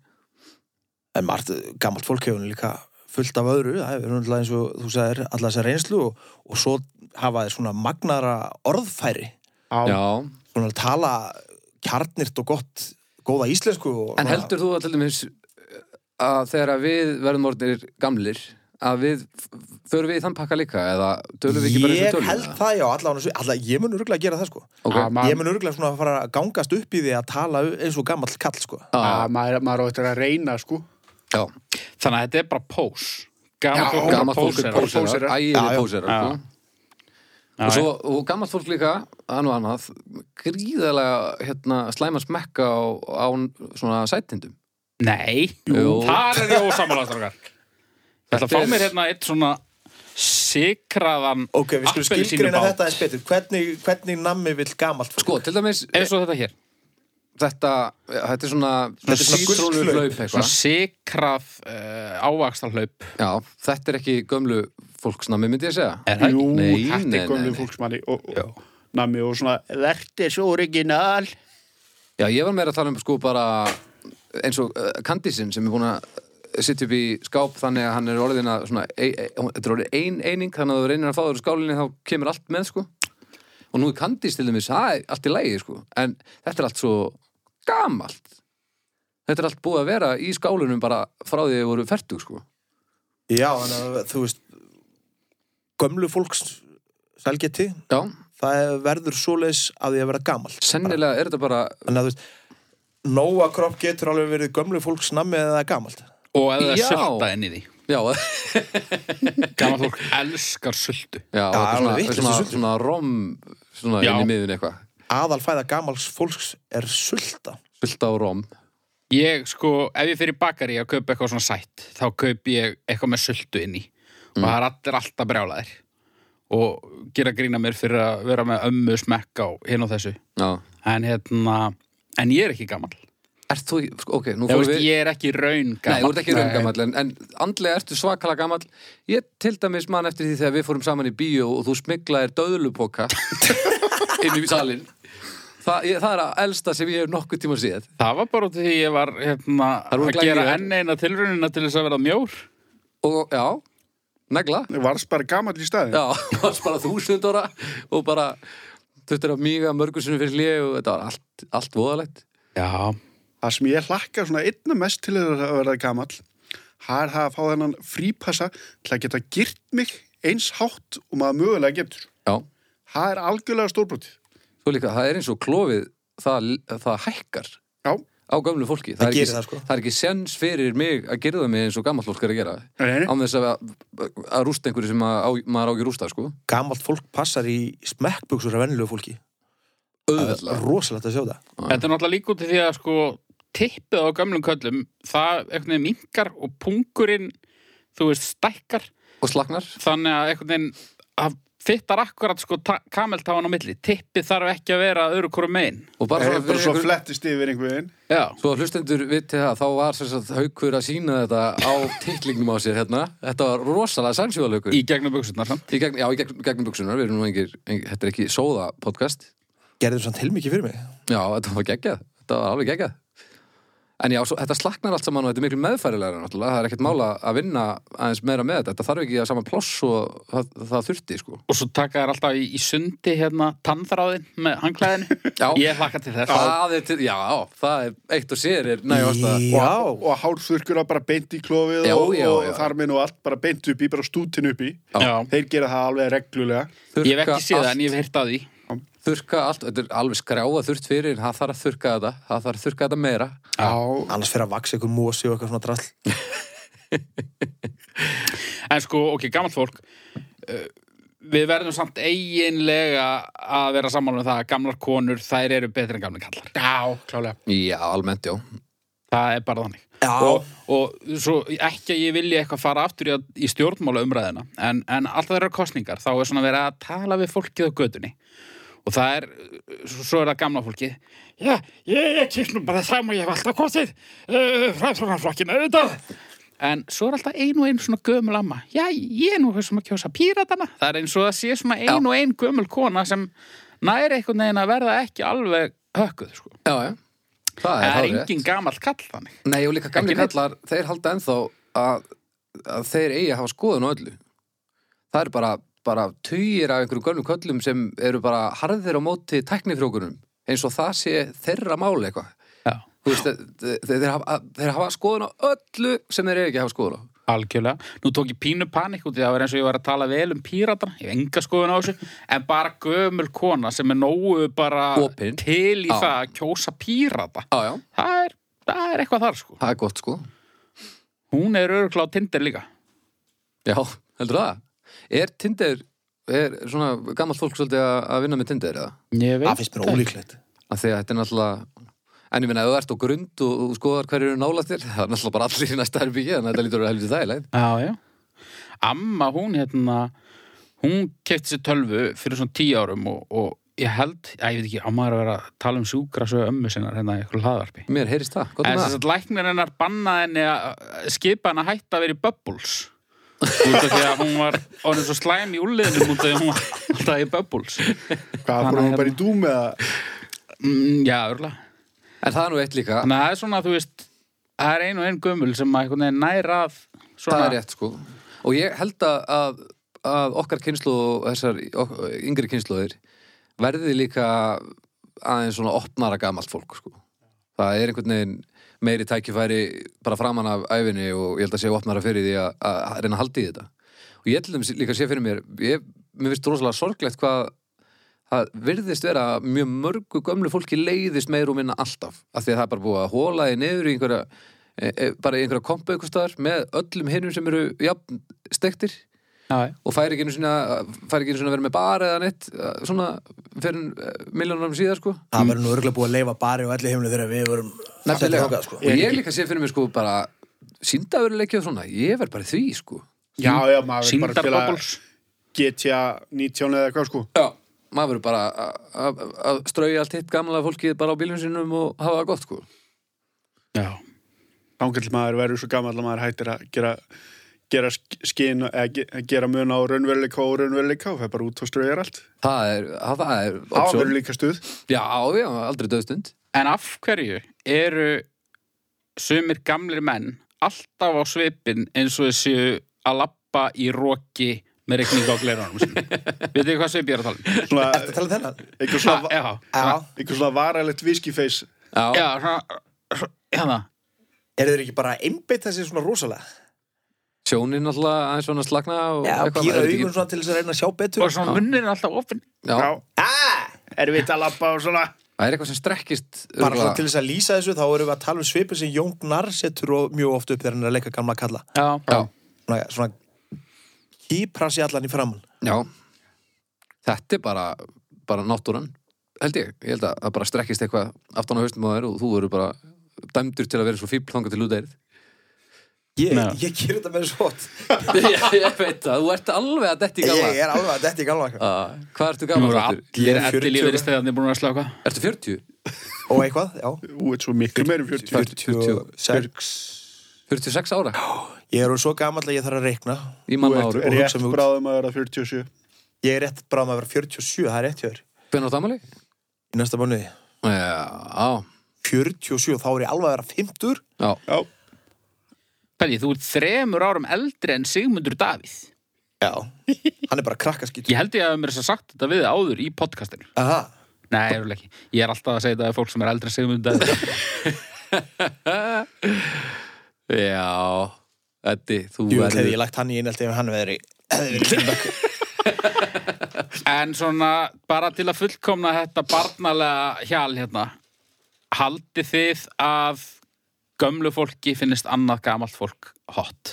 en margt gammalt fólk hefur nú líka fullt af öðru, það hefur náttúrulega eins og þú sagðir allar þessa reynslu og, og svo hafa þeir svona magnara orðfæri Já. Já, svona að tala kjarnirt og gott góða íslensku og En heldur þú að til dæmis eh, að þegar að við verðum orðnir gamlir að við förum við í þann pakka líka eða tölum við ekki bara eins Ég og tölum held eða? það, já, allavega, allavega, ég mun örgulega gera það, sko. Ok. Að maður- Ég mun örgulega svona að fara að gangast upp í því að tala eins og gamall kall, sko. Að Maður maður á þetta að reyna, sko. Já, Þannig að þetta er bara pós. Já, gammalt fólk er pósera. póserar, póserar. Já, ægileg já. póserar Já. sko. og, svo, og gammalt fólk líka hann og annað, gríðalega hérna, slæma smekka á, á svona sætindum Nei, Jú. þar er ég ósamalastrakar. Ég Þetta ætla að er- fá mér hérna eitt svona sikraðan Ok, við skulum skilgreina appelsínubát. þetta eins betur. Hvernig, hvernig nammi vill gamalt fólk? Sko, til dæmis, Eins og þetta hér. þetta, þetta er svona, Þetta er svona sítrónuhlaup gullhlaup. eitthvað. Svona sikrað uh, ávakstarhlaup. Já, þetta er ekki gömlu fólksnami, myndi ég segja Er það Jú, ekki? Nei, þetta nei, er gömlu nei, nei. fólksmanni og, og nami og svona Verti svo original Já, ég var meira að tala um sko bara eins og uh, Kandísinn sem er búin að sitja upp í skáp þannig að hann er orðin að svona, e, e, þetta er orðin ein eining þannig að þú reynir að fá þér úr skálinni þá kemur allt með sko og nú er Kandís til dæmis, það er allt í lægi sko en þetta er allt svo gamalt þetta er allt búið að vera í skálunum bara frá því að voru fertug sko Já, en að, þú veist, gömlu fólks sælgeti, Já, það er- verður svoleiðis að því að vera gamalt. sennilega er þetta bara Þannig að þú veist, nóa kropp getur alveg verið gömlu fólks nammi eða það er gamalt. Og eða Já. sulta inn í því. Já, Gaman fólk elskar sultu. já, þetta er alveg svona, vitlaust svona, í sundur. svona rom svona Já. inn í miðun eitthvað Aðalfæða gamals fólks er sulta. Sulta og rom Ég sko, ef ég fyrir bakari að kaupa eitthvað svona sætt, þá kaup ég eitthvað með sultu inn í Mm. og það er allir alltaf brjálaðir og gera grína mér fyrir að vera með ömmu smekk á hinn og þessu Já en hérna, en ég er ekki gammal Ert þú, sko, ok, nú ég, fórum veist, við ég er ekki raun Nei, þú gammal ert ekki raungamall, en, en andlega ertu svakala gamall Ég til dæmis man eftir því þegar við fórum saman í bíó og þú smiklaðir döðlupoka inn í salin Þa, ég, Það er að elsta sem ég hef nokkuð tíma séð það var bara út af því ég var hérna, Það að voru gera glæðir. enn eina tilraunina til þess að vera mjór Og já, negla Varst bara gamall í staðin Já, varst bara þúsund ára og bara þurftir að míga mörgursinu fyrir hlið og þetta var allt, allt voðalegt já, Það sem ég hlakka svona einna mest til að verða gamall Það er það að fá þennan frípassa til að geta girt mig eins hátt og maður mögulega getur Já, Það er algjörlega stórbrotið svo líka, það er eins og klofið það, það hækkar Já, á gömlu fólki Það er ekki, gerir það, sko. er ekki sens fyrir mig að gerða mig eins og gammal fólk er að gera Nei, nei. án þess að, að rústa einhverju sem að, á, maður á ekki að rústa sko. Gamalt fólk passar í smekkbuksur af vennilegu fólki. auðveldlega Rosalegt að sjá það. þetta er náttúrulega líka út af því að sko tippið á gamlum köllum það einhvern veginn minkar og pungurinn þú veist, stækkar og slagnar þannig að einhvern veginn að fittar akkurat sko kameltáan á milli tippið þarf ekki að vera öðru hverju megin og bara það er svona bara fyrir svo ykkur- flettist yfir einhvern já, svo að hlustendur viti það þá var sem sagt, haukur að sína þetta á titlingnum á sér hérna þetta var rosalega sannsjóðalaukur í gegnum buksunar samt í gegn, já, í gegn, gegnum buksunar við erum nú engir, engir, þetta er ekki sóða podcast Gerðum samt heilmikið fyrir mig. já, þetta var geggjað, þetta var alveg geggjað En já, svo, þetta slaknar allt saman og þetta er miklu meðfærilega náttúrulega, það er ekkert mála að vinna aðeins meira með þetta, þetta þarf ekki að sama pláss og það, það þurfti, sko. og svo taka þær alltaf í, í sundi hérna tannþráðin með hangklæðinu Já. ég hlakka til þess Það er til, já, það er eitt og sér er nægjast að Já. og, og hárþurkur að bara beint í klófið Já, og, já, já. og þarminn og allt bara beint upp í, bara stútin upp í já. Þeir gera það alveg reglulega ég hef ekki séð allt, það en ég hef heyrt að því Þurka allt, þetta er alveg skráða þurft fyrir, en það þarf að þurka þetta, það þarf að þurka þetta meira. Já, Annars fyrir að vaksa ykkur mosi og eitthvað svona drall. en sko, ok, gammalt fólk eh, við verðum samt eiginlega að vera sammála um það að gamlar konur þær eru betri en gamli kallar já klálega Já, almennt, já. það er bara þannig Já. og, og svo ekki að ég vilja eitthvað fara aftur í, að- í stjórnmála umræðina en, en alltaf þeirra kostningar þá er svona verið að tala við fólkið á gödunni og það er, svo, svo er það gamla fólkið já, ég, ég kýst nú bara fram og ég hef alltaf kostið uh, framsvonarflokkinu auðvitað en svo er alltaf ein og ein svona gömul amma já, ég er nú sem að kjósa píratana það er eins og það sé svona ein og ein gömul kona sem næri einhvern veginn að verða ekki alveg hökkuð sko Já, já. Það það er er hárrétt. engin gamall kall þannig Nei, og líka gamli Ekki neitt. kallar, þeir halda ennþá að, að þeir eigi að hafa skoðun á öllu. Það eru bara, bara tugir af einhverjum gömlum köllum sem eru bara harðir á móti tæknifrjókunum, eins og það sé þeirra máli eitthvað. Já. Þú veist, þeir, þeir, hafa, þeir hafa skoðun á öllu sem þeir eigi ekki að hafa skoðun á. Algjörlega. Nú tók ég pínu panik út í að það var eins og ég var að tala vel um píratana, ég hef enga skoðun á þessu, en bara gömul kona sem er nógu bara Opin. til í Já. það að kjósa pírata. Já, já, Það er, það er eitthvað þar sko. það er gott sko. Hún er örgulega á Tinder líka. Já, heldur það? Er Tinder, er svona gamalt fólk svolítið að að vinna með Tinder eða? Ég Það finnst mér ólíklegt að því að þetta er náttúrulega en ég minna, ef þú ert á grund og, og skoðar hverju eru nálættir, það er náttúrulega bara allir í næsta herbyggi, þannig að þetta lítur að vera helviti þægileg Já, já. Amma, hún hérna, hún kefti sér tölvu fyrir svona tíu árum og, og ég held, að, ég veit ekki, amma er að vera að tala um sjúkra svo ömmu sinnar hérna í eitthvað hlaðarpi. mér heyrist það, gott um En þess það að læknir hennar bannaði henni að skipa henni að hætta að vera í bubbles. Þú veist af því að hún var orðin svo slæm í úrliðinum út af því að hún var alltaf í bubbles. Hvað, fór hún hérna- bara í dúm eða? Mm, já, örgulega. en það er nú eitt líka, Þannig að það er svona, þú veist, það er ein og ein gömul sem að einhvern veginn næra að það svona... er rétt sko og ég held að- að, að okkar kynslu og þessar ok, yngri kynsluðir verði líka aðeins svona opnara gamalt fólk sko. það er einhvern veginn meiri tækifæri bara framan af æfinni og ég held að sé opnara fyrir því að, að reyna að halda í þetta og ég held að líka sé fyrir mér ég, mér finnst rosalega sorglegt hvað það virðist vera að mjög mörgu gömlu fólki leiðist meir og minna alltaf af því að það er bara búið að hóla því niður í einhverja e, e, bara í einhverja kompa einhvers staðar með öllum hinnum sem eru jafn stektir Já, og fær ekki einu sinna fær ekki einu sinna að vera með bar eða neitt eh, svona fyrir miljónum síðar sko Það verður nú örgulega búið að leifa bari og elli heimlu þegar við vorum Nefnilega, þangað, sko. og ég líka sé fyrir mér sko bara síndaveruleiki og svona, ég verð bara í því sko Já, já, maður verður bara síndar til að bubbles. GTA 19 eða eitthvað sko. Já Maður verður bara að- að- að strauja allt hitt gamla fólkið bara á bílum sínum og hafa það gott sko Já. Þangar til maður verður svo gammal að maður hættir að gera gera sk- skin eða ge- gera mun á raunveruleika og raunveruleika og það er bara út og ströðjar allt. Það er, það- það er Það verður option. líka stuð. Já, já, aldrei döðstund En af hverju eru sumir gamlir menn alltaf á svipin eins og þessu að lappa í roki með regninga á glerunum sinni? Vitið þið hvað svip ég er að tala um? Svona, Ertu að tala um þennan? eitthvað svona, Já, Já, eitthvað svona varalegt viskifeis. Já, já, svona, hérna, eru þeir ekki bara að einbytta sér svona rosalega? sjónin alltaf aðeins svona slagna og Já, eitthvað, pýra maður veit ekki- augun svona til þess að reyna að sjá betur og svona munnir er alltaf ofinn. Já, Já. Ah! Er við að lappa og svona? það er eitthvað sem strekkist Bara örugglega. svona til þess að lýsa þessu þá erum við að tala um svipin sem Jón Gnarr setur og mjög oft upp þegar hann er að leika gamla kalla Já. Já, Svona, svona kýpra sér allan í framann já Þetta er bara, bara náttúran held ég, ég held að það bara strekkist eitthvað aftan á haustum á þér og þú eru bara dæmdur til að vera svo fíbl þangað til út eirð Ég, Já. ég ger þetta með svo oft ég, ég veit það, þú ert alveg að detti Ég gala ég er alveg að þetta í gamla kalla Ah, Hvað ertu Nú gaman eru aftur? Ég allir er 40 ellir lífið í stæðanir búin að slaka. Ertu 40? Og eitthvað, já Ú, þetta er svo miklu meiri 40. 46 46 ára? Ég er svo gamall að ég þarf að reikna Í Þú manna ert áru og rétt hugsa mig út. bráðum að vera 47. Ég er rétt bráðum að vera 47, það er rétt hjá þér Hvernig áttu amali? Í næsta mánuði Já, 47, þá er ég alveg að vera 50 já Já, Pæli, þú ert þremur árum eldri en Sigmundur Davíð. Já Hann er bara krakkaskýtur Ég held ég að mér þess að sagt þetta við þig áður í podcastinu. Aha Nei, ég ekki. Ég er alltaf að segja þetta að fólk sem er eldri en Sigmundur Davíð. Já, Eddi, þú Jú, verður hefði ég lagt hann í einelti ef hann veðri hefði verið kynbökk En svona, bara til að fullkomna þetta barnalega hjal hérna Haldið þið að gömlu fólki finnist annað gamalt fólk hot?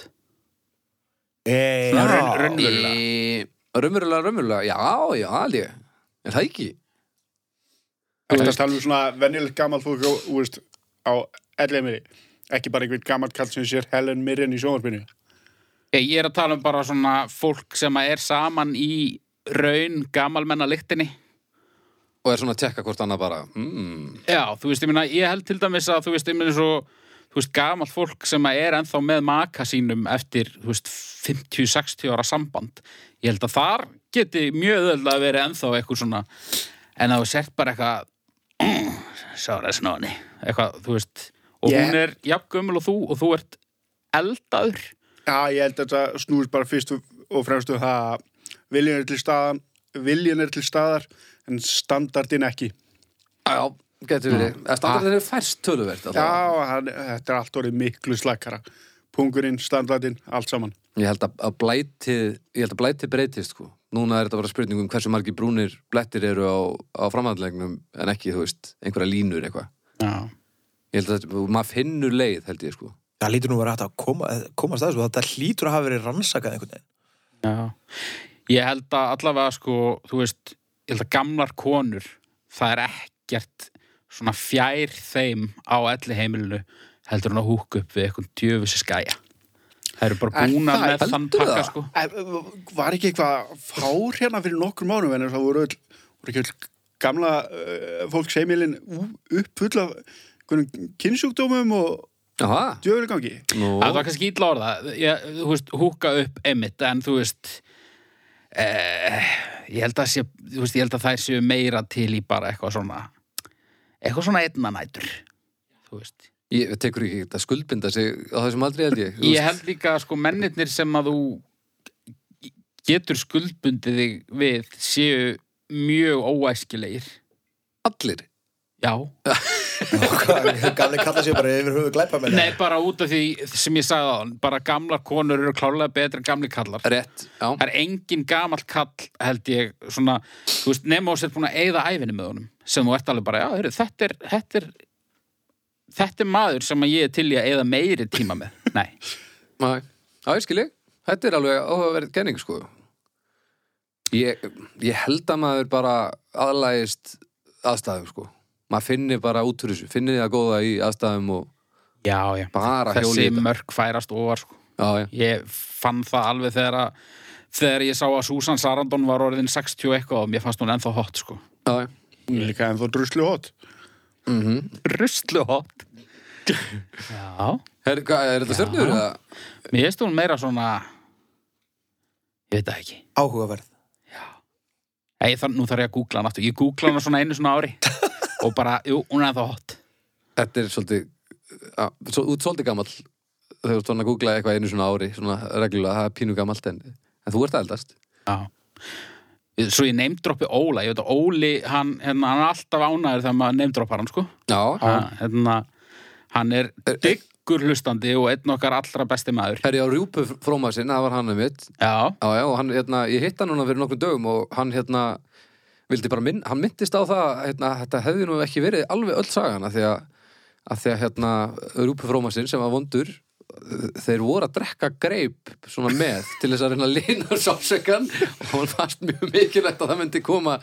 Hey, Svona raun- já. raunverulega. Í- Raunverulega, raunverulega, já, já, alveg Er það ekki? þetta er talveg um svona venjulegt gammal fólk á, þú veist, á ellemiri. Ekki bara einhvern gammal kall sem sér Helen Mirren í sjónvarpinu. Ég ég er að tala um bara svona fólk sem að er saman í raun gamalmennaliktinni Og er svona að tekka hvort annað bara mm. Já, þú veist, ég meina, ég held til dæmis að þú veist, ég meina svo þú veist, gamalt fólk sem að er ennþá með maka sínum eftir, þú veist, 50-60 ára samband ég held að þar geti mjög öðvöld að vera ennþá eitthvað svona en að þú sért bara eitthvað sára snóni eitthvað, þú veist og Yeah. hún er jafn gömul og þú og þú ert eldaður Já, ég held að þetta snúist bara fyrst og fremst um það að viljun er til staðar, viljun er til staðar en standardin ekki. Já, getur verið. Mm. Eða standardin Ah. er færst töluvert. Já, allavega. hann, þetta er allt orðið miklu slækara. Pungurinn, standardin, allt saman. Ég held að, að blætið, ég held að blætið breytist, sko. Núna er þetta bara spurning um hversu margir brúnir blættir eru á, á framhandlegnum en ekki, þú veist, einhverja línur eitthvað. Já. Ég held að þetta, maður finnur leið, held ég, sko. Það lítur nú að vera hægt að koma, eh, komast að þessu og þetta lítur að hafa verið rannsakað einhvern veginn. Já. Ég held að allavega sko, þú veist, ég held að gamlar konur, það er ekkert svona fjær þeim á elli heimilinu heldur hann að húka upp við eitthvað djöfissi skæja. Það eru bara Er búna það- með heldur þann pakka það? sko. En, Var ekki eitthvað fár hérna fyrir nokkur mánum en það voru, öll, voru ekki öll gamla uh, fólksheimilin uppfull af kynnsjúkdómum og Jaha, djöfurgangi. nú. Það var kannski ítla orða. Ég, þú veist, húka upp einmitt, en þú veist, eh, ég held að, sé, þú veist, ég held að þær séu meira til í bara eitthvað svona, eitthvað svona einnanætur, þú veist. Ég tekur ekki þetta skuldbinda sig á þessum aldrei, held ég. Þú Ég veist, held líka að sko mennirnir sem að þú getur skuldbundið þig við séu mjög óæskilegir. Allir. Já. Gamli kalla sér bara yfir höfu glæpa með Nei, bara út af því sem ég sagði á hann, bara gamlar konur eru klárlega betri en gamli kallar. Rétt, já. Það er engin gamall kall, held ég, svona, þú veist, nema og sér búin að eyða æfinni með honum, sem þú ert alveg bara, já, heyrðu, þetta er, þetta er, þetta er maður sem að ég er til í að eyða meiri tíma með. Nei. Nei, já, ég skil ég. Þetta er alveg áhugaverð kenning, sko. Ég, ég held að maður bara aðlægist aðstæðum, sko. Maður finnir bara út úr þessu, finnir það góða í aðstæðum og Já, já. bara hjóli Þessi í þetta. mörk færast ofar, sko. Já, já. ég fann það alveg þegar að þegar ég sá að Susan Sarandon var orðin 60 eitthvað og mér fannst hún ennþá hot sko. já, já. Hún er líka ennþá druslu hot. Ruslu hot Já, Er, hvað, er þetta stjörnur? eða? mér finnst hún meira svona ég veit það ekki Áhugaverð. Ei, þann, Nú þarf ég að googla hann aftur, ég googla hann svona einu svona ári og bara, jú, hún er ennþá hot Þetta er svolítið, já, svo, út svolítið gamall. Þegar þú ert svona að googla eitthvað einu svona ári, svona reglulega, það er pínu gamalt en, en þú ert að eldast. Já Svo ég neymdroppi Óla, ég veit að Óli hann, hérna, hann er alltaf ánæður þegar maður neymdroppar hann sko Já, hann, hérna, hann er diggur hlustandi og einn okkar allra besti maður er ég á rjúpu fróma sinn, það var hann um mitt. Já, Já, já, og hann, hérna, ég hitt hann núna fyrir nokkrum dögum og hann, hérna, vildi bara minn, hann myndist á það, að, hérna, þetta hefði nú ekki verið alveg öll sagana því að, að því að, hérna, Rúpi Frómasinn sem var vondur, þeir voru að drekka greip svona með til þess að reyna að lina sásökan og hann fannst mjög mikilvægt að það myndi koma,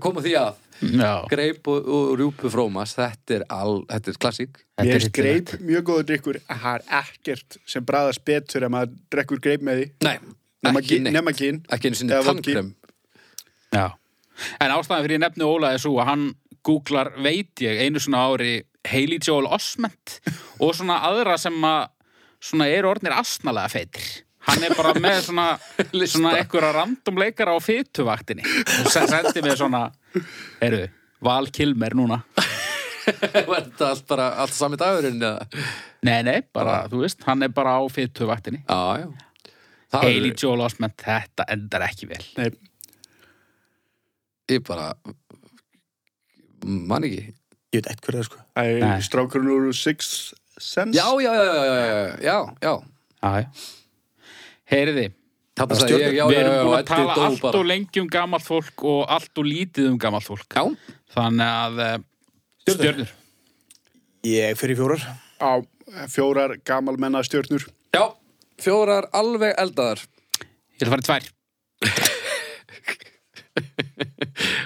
koma því að. Já. Greip og, og Rúpi Frómas, þetta er all, þetta er klassík. Þetta Mér er er greip mjög góður drikkur en það er ekkert sem bræðast betur ef maður drekkur greip með því Nei, nema ekki gin- neitt. nema gin Ekki einu sinni eða vodka. tannkrem. Já. En ástæðan fyrir ég nefni Óla er svo að hann googlar, veit ég, einu svona ári Hailey Joel Osment og svona aðra sem að svona eru orðnir asnalega feitir. Hann er bara með svona, svona einhverja random leikara á fytuvaktinni sem sendi mig svona, heyrðu, Val Kilmer núna. Var þetta allt bara, allt sami dagurinn eða? Nei, nei, bara, þú veist, hann er bara á fytuvaktinni. Já, já. Það Hailey er, Joel Osment, þetta endar ekki vel. Nei, ég bara, mann ekki. Ég veit eitthvað það sko. það Nei. er strákurinn úr Sixth Sense Já, já, já, já, já, já, já, já. Já, já. Heyriði, Þarna Það sagði stjórnar- ég, já, við já, já, erum já, búin að Eddi tala dó allt bara. og lengi um gamalt fólk og allt og lítið um gamalt fólk Já, þannig að eh, stjörnur Ég fyrir fjórar. á fjórar gamalmenna stjörnur já, fjórar alveg eldaðar. ég ætla að fara í tvær,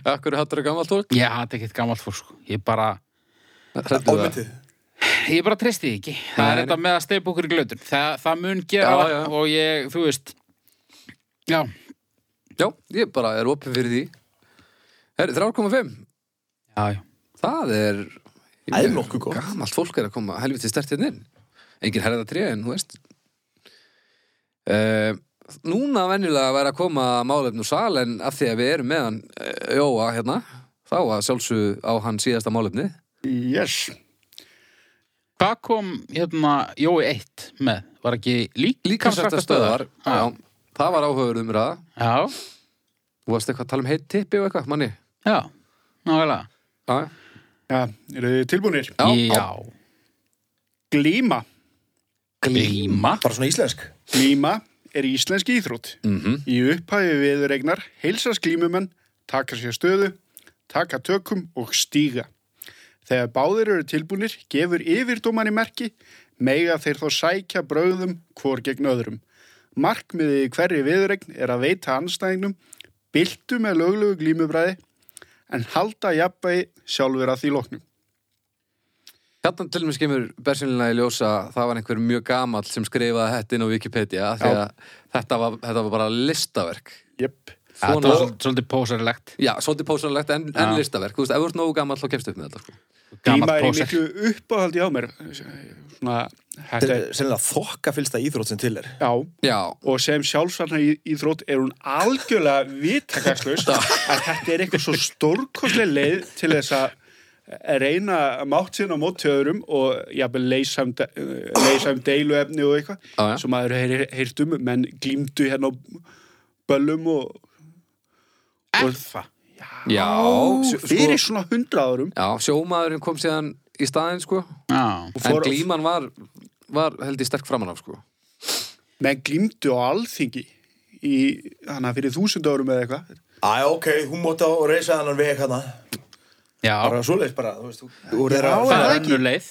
Akkur hattur að gamalt fólk? ég hati ekkert gamalt fólk sko. ég bara, Hræddu það. Ómyndið. ég bara treysti því ekki það er Nei. þetta með að steipa okkur í glötun það, það mun gera Já, það já. og ég, þú veist já, Já, ég bara er opið fyrir því. Herri, 3,5. já, já Það er... Það er nokkuð gott. Gamalt fólk er að koma helviti stert hérna inn. Engin herða tré, en þú veist. Uh, núna venjulega væri að koma málefn úr sal, eh, en af því að við erum með hann uh, Jóa hérna, þá að sjálfsög á hann síðasta málefni. Yes. Hvað kom hérna Jói 1 með? Var ekki lík, Líkansrætta stöðar, já, það var áhugaður um ræða. Já, Þú varst eitthvað að tala um heitt tippi og eitthvað, manni? já, návæglega. Já, Já, eru þið tilbúinir? já. já. Glíma. Glíma. bara svona íslensk Glíma er íslenski íþrótt. Mhm. Í upphæfi viðregnar heilsast glímumenn, taka sér stöðu, taka tökum og stíga. Þegar báðir eru tilbúinir, gefur yfirdómanni merki, mega þeir þá sækja bröðum hvor gegn öðrum. Markmiðið í hverri viðregn er að veita anstæðingnum, byltu með löglegu glímubræði, en halda jafnvægi sjálfur að því loknum. Hérna til mér skemur bersinlega í ljósa það var einhver mjög gamall sem skrifaði þetta inn á Wikipedia af því Já. að þetta var, þetta var bara listaverk Jöpp. Þetta var Svona, svol- svolítið pósarilegt. já, svolítið pósanlegt en, en Já. listaverk, þú veist, ef þú ert nógu gamall þá kemst upp með þetta sko. Glíma er í pósar. miklu uppáhaldi á mér. Svona, þetta þetta er, er sennilega þokka fylsta íþrótt sem til er já, Já, og sem sjálfsvarnar í, íþrótt er hún algjörlega vitakakslaus að þetta er eitthvað svo stórkostlega leið til þess að reyna mátt sinna á móti öðrum og jafnvel leysa um, de- eh, leysa um deiluefni og Já, já. eitthvað sem maður heyr, heyrt um menn glýmdu hérna á böllum og, Er það? já, sjó, fyrir sko, svona hundra árum já sjómaðurinn kom síðan í staðinn sko, Já. og en fór, glíman var, var held ég sterk framan af sko. menn glýmdu á alþingi í, hana fyrir þúsund árum eða eitthvað Æ, ok, hún móta og reysa hann veg hérna Já, bara svoleiðis bara, þú veist þú er Já, þeirra það það er ekki? önnur leið.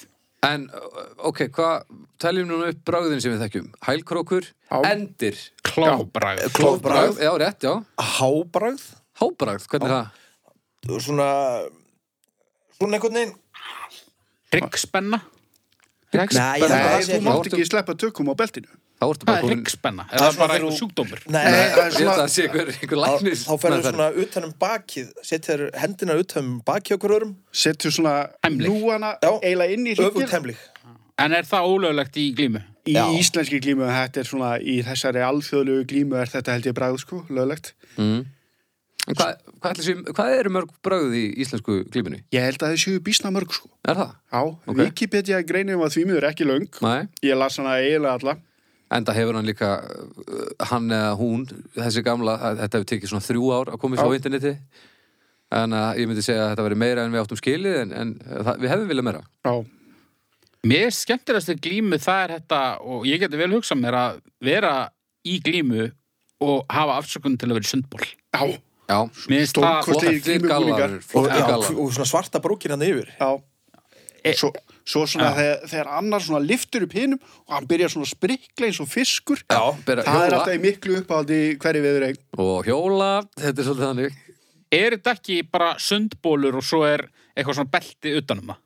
En, ö, ok, hvað teljum núna upp bragðin sem við þekkjum? Hælkrókur, Já. endir Klóbræð. klófbragð, Já, rétt, já, hábragð hábragð, hvernig er það? svona svona einhvern veginn Hryggspenna. Nei, ég held að Nei, það sé þú ekki- mátt ekki sleppa tökum á beltinu Þá ertu Hvað bara er komin hryggspenna? Er Það er það svona bara þegar einhver þú- sjúkdómur? Nei, nei, það er Ég held að svona- það sé einhver, einhver þá læknis þá ferður meðferð. svona utan um bakið setjar hendina utan um bakið okkur öðrum setur svona Hemlik. núana Já. eiginlega inn í hrygginn. öfugt hemlig En er það ólöglegt í glímu? í Já. íslenski glímu þetta er svona í þessari alþjóðlegu glímu er þetta held ég bræð sko, löglegt En Hvað, hvað, ætli sé- hvað eru mörg brögð í íslensku glíminu? ég held að það séu býsna mörg sko Er það? já, Ok. Wikipedia greinum að því miður ekki löng Nei, ég las hana eiginlega alla enda hefur hann líka uh, hann eða hún, þessi gamla að- þetta hefur tekið svona þrjú ár að koma svo á Já. interneti en að ég myndi segja að þetta veri meira en við áttum skilið en, en uh, það, við hefum viljað meira já, Mér skemmtilegast við glímu það er þetta og ég geti vel hugsað mér að vera í glímu og hafa afsökun til að vera í sundból. já, Já, Mér finnst það Stórkostleg- Flottir flottir gallar glímubúningar. og, flottir já, gallar og svona svarta brókin hann yfir já. E- Svo, svo svona þegar, þegar annar svona liftur upp hinum og hann byrjar svona að sprikla eins og fiskur Já, bera, það er hjóla alltaf í miklu uppáhaldi í hverju viður eigin og hjóla, þetta er svolítið þannig Er þetta ekki bara sundbólur og svo er eitthvað svona belti utanum það?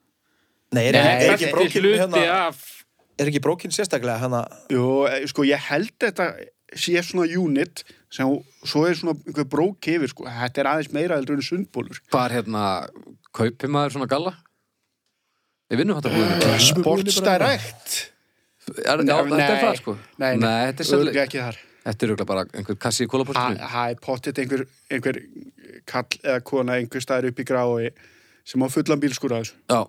nei, er, er, belti ekki brókin hluti hérna, af... er ekki brókin sérstaklega hana Jú, eh, sko ég held þetta sé svona unit sem svo er svona einhver brók yfir sko þetta er aðeins meira heldur en sundbólur Hvað er hérna, kaupir maður svona galla? Við vinnum þetta búinu Sportstærekt Er, já, þetta er það sko Nei, nei, þetta er sannleik örugglega ekki þar Þetta er auðvitað bara einhver kassi í kólaportinu Það er pottitt einhver, einhver kall eða kona einhver staðar upp í grái sem á fullan bílskúra þessu Já,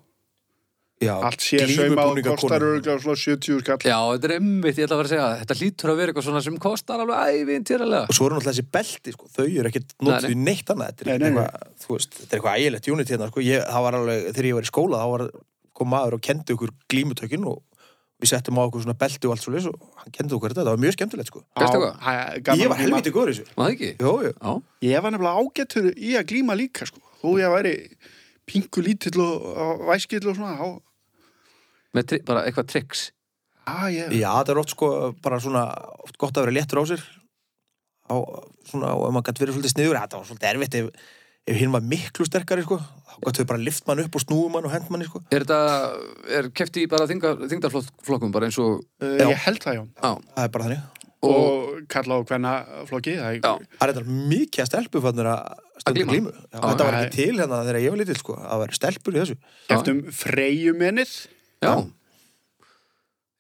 já, Allt sé sauma og glímubúningar kostar konu. örgulega svona 70 skall já, þetta er einmitt, ég ætla að vera að segja það. Þetta hlýtur að vera eitthvað svona sem kostar alveg ævintýralega og svo eru náttúrulega þessi belti sko, þau eru ekkert Nei, notið nei. í neitt annað þetta Nei, er nei, nei. eitthvað, þú veist, þetta er eitthvað ægilegt unit hérna, sko, ég, það var alveg, þegar ég var í skóla þá var, kom maður og kendi okkur glímutökin og við settum á okkur svona belti og allt svo leys og hann kendi okkur þetta, það var mjög skemmtilegt sko Veistu Á, hvað? hæ- ég gaman að var glíma. helviti góður í þessu Var það ekki? Jó, jú. Já, Ég var nefnilega ágættur í að glíma líka sko þó ég væri pingu lítill og, og væskill og svona á, með tri, bara eitthvað tricks á, Ah, ég, já, það er oft sko, bara svona oft gott að vera léttur á sér á, svona, og ef maður gætt verið svolítið sniður þetta var svolítið erfitt ef, ef hinn var miklu sterkari sko, þá gott þau bara lift mann upp og snúum mann og hend mann sko. Er þetta, er kefti í bara þingar, þingdarflokkum bara eins og uh, já. ég held það já Já, það er bara þannig og, og kalla á hvenna flokki það já, er Það er þetta mikið að stelpur fannir að stunda glíma. glímu. Já, Já, þetta var nei. ekki til hérna þegar ég var lítill, um sko, að vera stelpur í þessu. kæftum freyjumennið já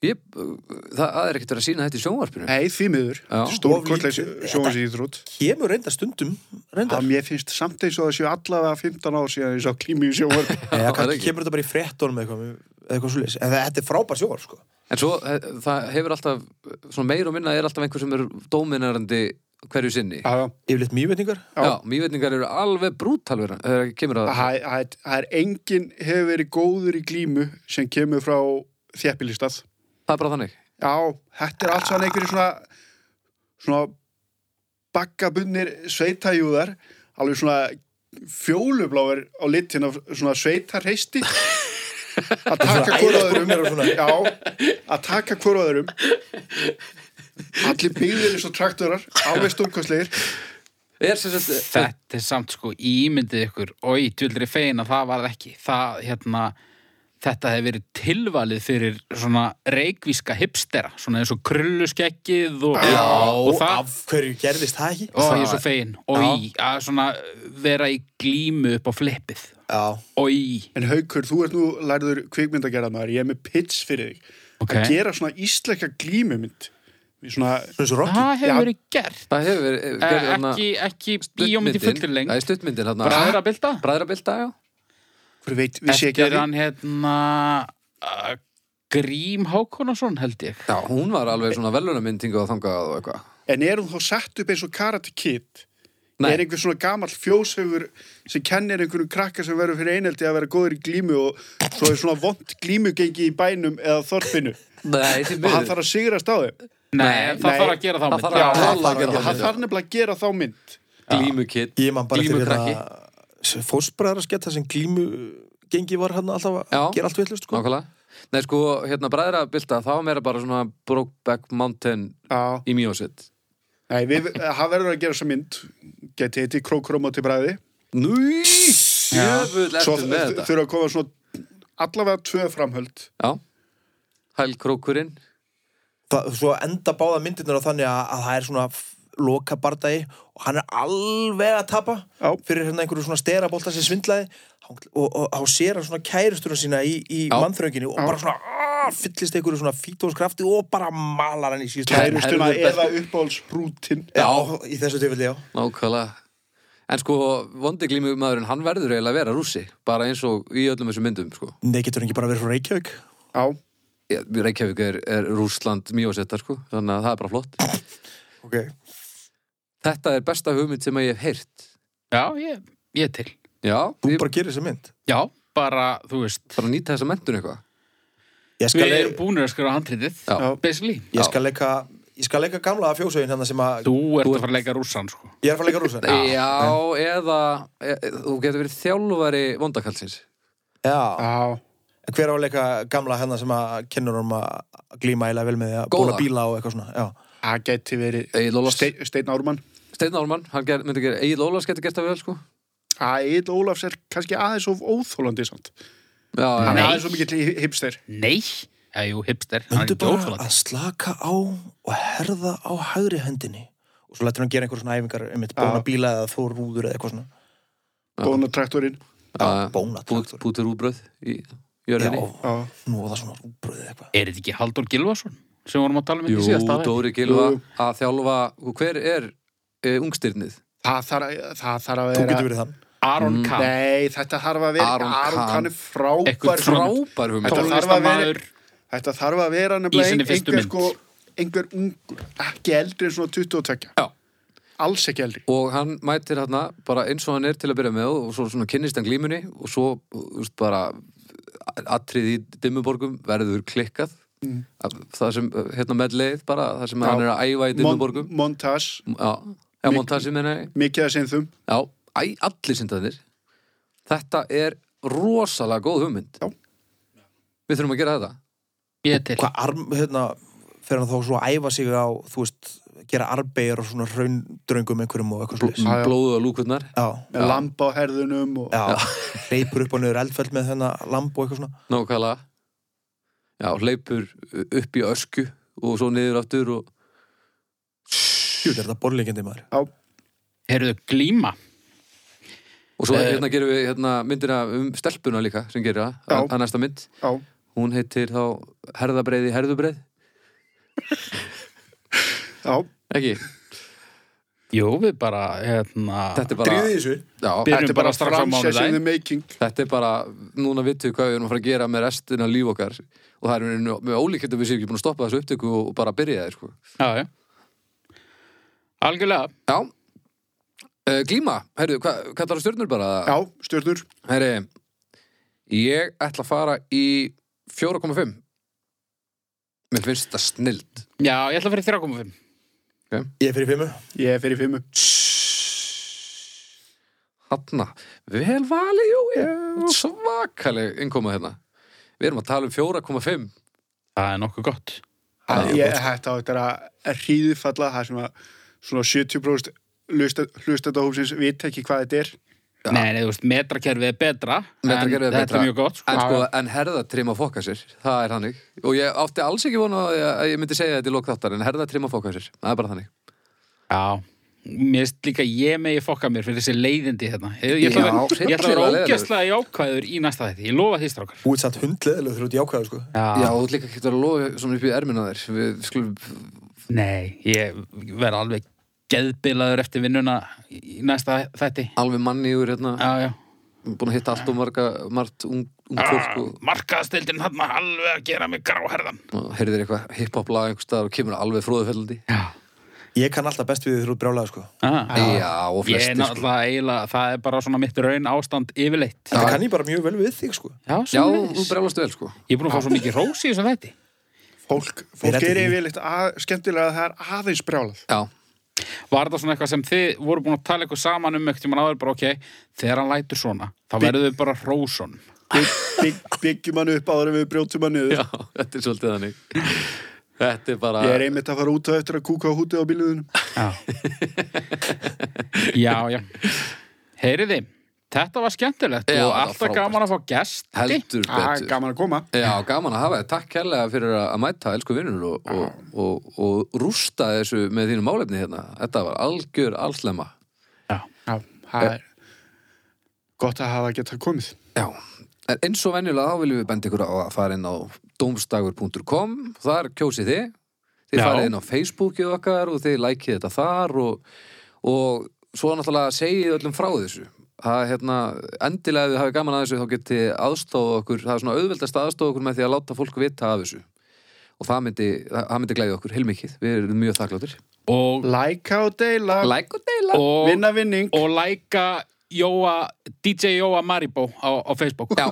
ég, það, það er ekkert verið að sína þetta í sjónvarpinu Nei, því miður. Já. Stór Of kollegi lítið. sjóhansýþrótt. Kemur reynda stundum, reynda. Mér finnst samt eins og það séu allavega 15 ár síðan ég sá klími í sjóhansýþrótt. Eða það er kannski ekki. kemur þetta bara í frettunum eða eitthvað, eða eitthvað svo En það- þetta er frábær sjóar, sko. En svo eh, það hefur alltaf, svona meir og minna er alltaf einhver sem er dóminarandi hverju sinni. Já, já. Yfirleitt mývetningar. já. Já, mývetningar eru alveg brútal vera, þegar kemur að Það það- það er enginn hefur verið góður í glímu sem kemur frá þjæppilistað. það er bara þannig. Já, þetta er allt saman einhverjir svona svona bakkabundir sveitajúðar alveg svona fjólubláir á litin af svona sveitareisti að taka hvoraðurum æðaskórnir og svona. já, að taka hvoraðurum allir byggðir eins og traktorar alveg stórkostlegir Er sem sagt, eh, Þetta er samt sko ímyndið ykkur og í tjöldri fegin að það varð ekki það, hérna, þetta hefði verið tilvalið fyrir svona reikvíska hipstera, svona eins og krulluskeggið og, Já, og það af hverju gerðist það ekki? og það- ég er svo fegin og í að svona vera í glímu upp á flippið Já, og í en Haukur, þú ert nú lærður kvikmyndagerðamaður, ég er með pitch fyrir þig að okay. gera svona íslenska glímumynd Við svona, svona svo Rocky. það Já. hefur verið gert það hefur verið, eh, Eh, gerði þarna ekki, ekki bíómynd í stuttmyndin- fullri lengt Nei, stuttmyndin hérna. Bræðrabilda Bræðrabilda, já. hver veit, við sé ekki eftir að því hann hérna uh, Grím Hákonason held ég Já, hún var alveg svona velunamyndingu að þangað og eitthvað. En er hún þá sett upp eins og Karate Kid? Nei. Er einhver svona gamall fjóshaugur sem kennir einhverjum krakka sem verður fyrir eineldi að vera góður í glímu og svo er svona vond glímugengi í bænum eða þorpinu Nei, því og hann miður. þarf að sigrast á þeim. Nei, Nei, það nei. þarf að gera þá Það mynd. þarf að Já. það tala þarf að að gera gera- Hann það. þarf nefnilega að gera þá mynd. Glímukitt. Ég man bara eftir Glímukrakki. hérna fósbræðar að sketta sem glímu gengi var hann alltaf að Já. gera allt villust, sko. Nákvæmlega. Nei, sko, hérna bræðrabilda, þá meira bara svona Brokeback Mountain Já. í mjósitt. Nei, við, hann verður að gera þessa mynd. Geti heiti Krókróm á til bræði. Núi, jöfull Svo eftir með þ- þetta þurfa að koma svona allavega tvö framhöld. Já, hælkrókurinn það, svo enda báða myndirnar á þannig að, að það er svona f- loka bardagi og hann er alveg að tapa Já. fyrir hérna einhverju svona sterabolta sem svindlaði og, og, og, og sér hann svona kæristurinn sína í, í Já. mannþrönginu og bara svona aah, fyllist einhverju svona fítóskrafti og bara malar hann í síðust Kæri- Kærustuna Herðu best- eða uppáhaldsbrútin. Já, í þessu tilfelli, já Nákvæmlega En sko, vondiglímumadurinn, hann verður eiginlega að vera rússi Bara eins og í öllum þessum myndum, sko Nei, getur hann ekki bara verið frá Reykjavík Já. Já, Reykjavík er, er Rússland mjósetta, sko Þannig að það er bara flott Ok Þetta er besta hugmynd sem ég hef heyrt Já, ég, ég er til. Já, Þú ég bara gerir þessa mynd Já, bara, þú veist, bara nýta þessa mentun eitthvað Ég skal, við leik, erum búinir að skrifa handritið, Já. Já. basically. ég skal leika Ég skal leika gamla fjósauðin hérna sem að Þú ert Þú að ert- fara að leika rússan, sko. Ég er að fara að leika rúsan Já, eða e, e, þú getur verið þjálfari vondakallsins Já. Já. En Hver á að leika gamla hérna sem að kennur um að glíma eiginlega vel með því að Góða. bóla bíla og eitthvað svona Já, Það geti verið Egil Ólafs, Ste Steinn Ármann. Steinn Ármann, hann ger, myndi gera Egil Ólafs getur gert það vel, sko að Egil Ólafs er kannski aðeins of óþólandi samt. Já, já, Nei. Hann er aðeins of mikill hipster. Nei, já, jú, hipster, hann er Mundu ekki bara óþólandi. að slaka á og herða á hægri hendinni og svo lætur hann gera einhver svona æfingar um eitt bóna bíla eða þó rúður eða eitthvað svona Bóna traktorinn. já, bóna bút, traktor. bútur úrbröð í Já, jörðinni nóða svona rúbröð eða eitthvað Er þetta ekki Haldur Gilvason sem vorum að tala um Jú, ekki síðast aðeins? Dóri Gilva Jú. að þjálfa, hver er e, ungstyrnið? Það þarf, það þarf að Þú vera... getur verið þann Aron Kahn. Nei, þetta þarf að vera... Aron Aron, Kahn. Kahn er frábær. Eitthvað Frá... svona- Frábær Þetta hugmynd þarf að vera- Tónlistarmaður, Þetta þarf að vera Í nefnilega sinni ein- fyrstu einhver mynd. sko... Einhver ungur, ekki eldri en svona 22. Já. Alls ekki eldri. Og hann mætir hérna bara eins og hann er til að byrja með og svo svona kynnist hann glímunni og svo úst, bara atrið í dimmuborgum verður klikkað mm. það sem, hérna með leið bara það sem Já. hann er að æfa í dimmuborgum montas, Já, já montasi minna mikið að seinþum. Já, æ, allir syndaðir Þetta er rosalega góð hugmynd Já. Við þurfum að gera þetta ég er til. Hvað arm, hérna, fer hann þá svo að æfa sig á, þú veist, gera arbeigir og svona raundröngum einhverjum og eitthvað slúðis Já, já. Blóðu og lúkurnar Já, Með lampa á herðunum og... já, hleypur upp og niður eldfell með þennan lamb og eitthvað svona Nákvæmlega Já, hleypur upp í ösku og svo niður aftur og Jú, þetta er borlíkindi maður Heyrðu, glíma. Og svo Eh. Eh. hérna gerum við hérna, myndina um stelpuna líka sem gerir það, Já. að- að næsta mynd Já. Hún heitir þá Herðabreiði Herðubreið Já, Ekki, Jú, við bara, hérna... þetta er bara Drýðu í þessu já, Byrjum þetta er bara bara strax á franchise in mánudaginn. the making Þetta er bara, núna vitið hvað við erum að fara að gera með restina líf okkar og það er með, með ólíkjöndum við séum ekki búin að stoppa þessu upptöku og bara byrja þeir sko. Já, já. Algjörlega. Já uh, Glíma, herru, hva, hvað það eru stjörnur bara? Já, stjörnur Herri, ég ætla að fara í 4,5 Mér finnst þetta snild Já, ég ætla að fyrir 3,5. Ég er fyrir fimmu Ég er fyrir fimmu Hanna, vel vali, jú Svakaleg innkoma hérna Við erum að tala um 4,5 Það er nokkuð gott. Ég hætti á þetta að hríðfalla það sem að svona 70% hlustendahúsins vita ekki hvað þetta er Nei, nei, þú veist, metrakerfið er betra. Metrakerfið er en Þetta betra. er mjög gott, sko. En, sko, Já, en herðatrima fokka sér, það er hannig Og ég átti alls ekki vona að ég- að ég myndi segja þetta í lokþáttar En herðatrima fokka sér, það er bara þannig Já, mér finnst líka ég megi fokka mér fyrir þessi leiðindi hérna. Ég, ég ætla að Já, vera- ég ætla að vera hryllilega ógæslega jákvæður í næsta þetta. Ég lofa því strákar. Þú ert satt hundleðileg þrjótt jákvæðu sko Já, þú ert líka ekki að lofa svona upp í ermina þér Við skulum Nei, ég verð alveg geðbilaður eftir vinnuna í í næsta þetta. alveg manni úr hérna Já, já. búin að hitta allt og marga, margt ung, ung fólk Ah, Markaðstildin hann alveg að gera mig gráherðan. og heyrðir eitthvað hip-hop lag einhvers staðar og kemur alveg fróðufellandi Já. Ég kann alltaf best við því þrjótt brjálega sko Ah, Já, og ég er flestir sko. náttúrulega eiginlega, það er bara svona mitt raun ástand yfirleitt. Þetta kann ég bara mjög vel við þig sko Já, Já, svona þú brjálast vel sko Ég er búin að fá svo mikið rós í þessum þetta. Fólk, Þeir fólk ættu er ekki- yfirleitt að, skemmtilega að það er aðeins brjálað Já, Var það svona eitthvað sem þið voru búin að tala eitthvað saman um ekkert tíma áður bara ok, þegar hann lætur svona, þá verður við bara rósun. Bygg, bygg, Byggjum hann upp áður en við brjótum hann niður já, þetta er svolítið þannig Þetta er bara Ég er einmitt að fara út á eftir að kúka á hútið á bíluðunum Já. já, já. Heyriði, þetta var skemmtilegt Já, og þetta var alltaf frábært. gaman að fá gesti. heldur Ah, betur Gaman að koma Já, gaman að hafa þér, takk kærlega fyrir að að mæta elsku vinnur og, og, og, og rústa þessu með þínu málefni hérna Þetta var algjör allslemma Já. Já, það er gott að hafa geta komið Já, en eins og venjulega þá viljum við benda ykkur á að fara inn á domstagur.com, þar kjósið þið þið Já. farið inn á Facebookið okkar og þið lækið þetta þar og, og svo náttúrulega segið öllum frá þessu það er hérna, endilega ef þið hafið gaman að þessu þá getið aðstofa okkur, það er svona auðveldast að aðstofa okkur með því að láta fólk vita af þessu og það myndi, það það myndi glæði okkur heilmikið, við erum mjög þakkláttir Og, Læka og deila, Læk og deila og, vinna vinning og læka Jóa, DJ Jóa Maribó á, á Facebook. Já.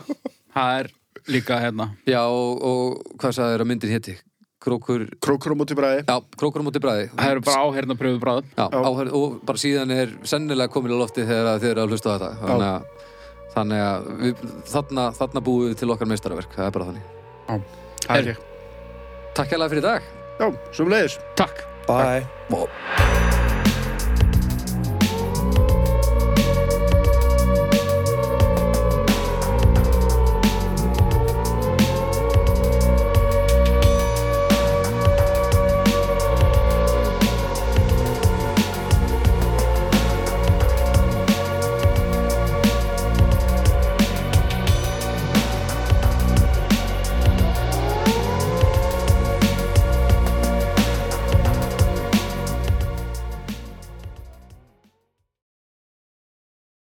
Það er líka hérna. Já, og, og hvað sagði þeirra myndin héti? Krókur, Krókur á móti bræði já, krókur á móti bræði Það eru bara áherna pröfu bráðum. Já, áhörð, og bara síðan er sennilega komin á lofti þegar þið eru að hlusta á þetta þannig að, þannig að við, þarna, þarna búum við til okkar meistaraverk það er bara þannig. Það er ég Takk hérlega fyrir í dag Já, sem leiðis Takk. Bye og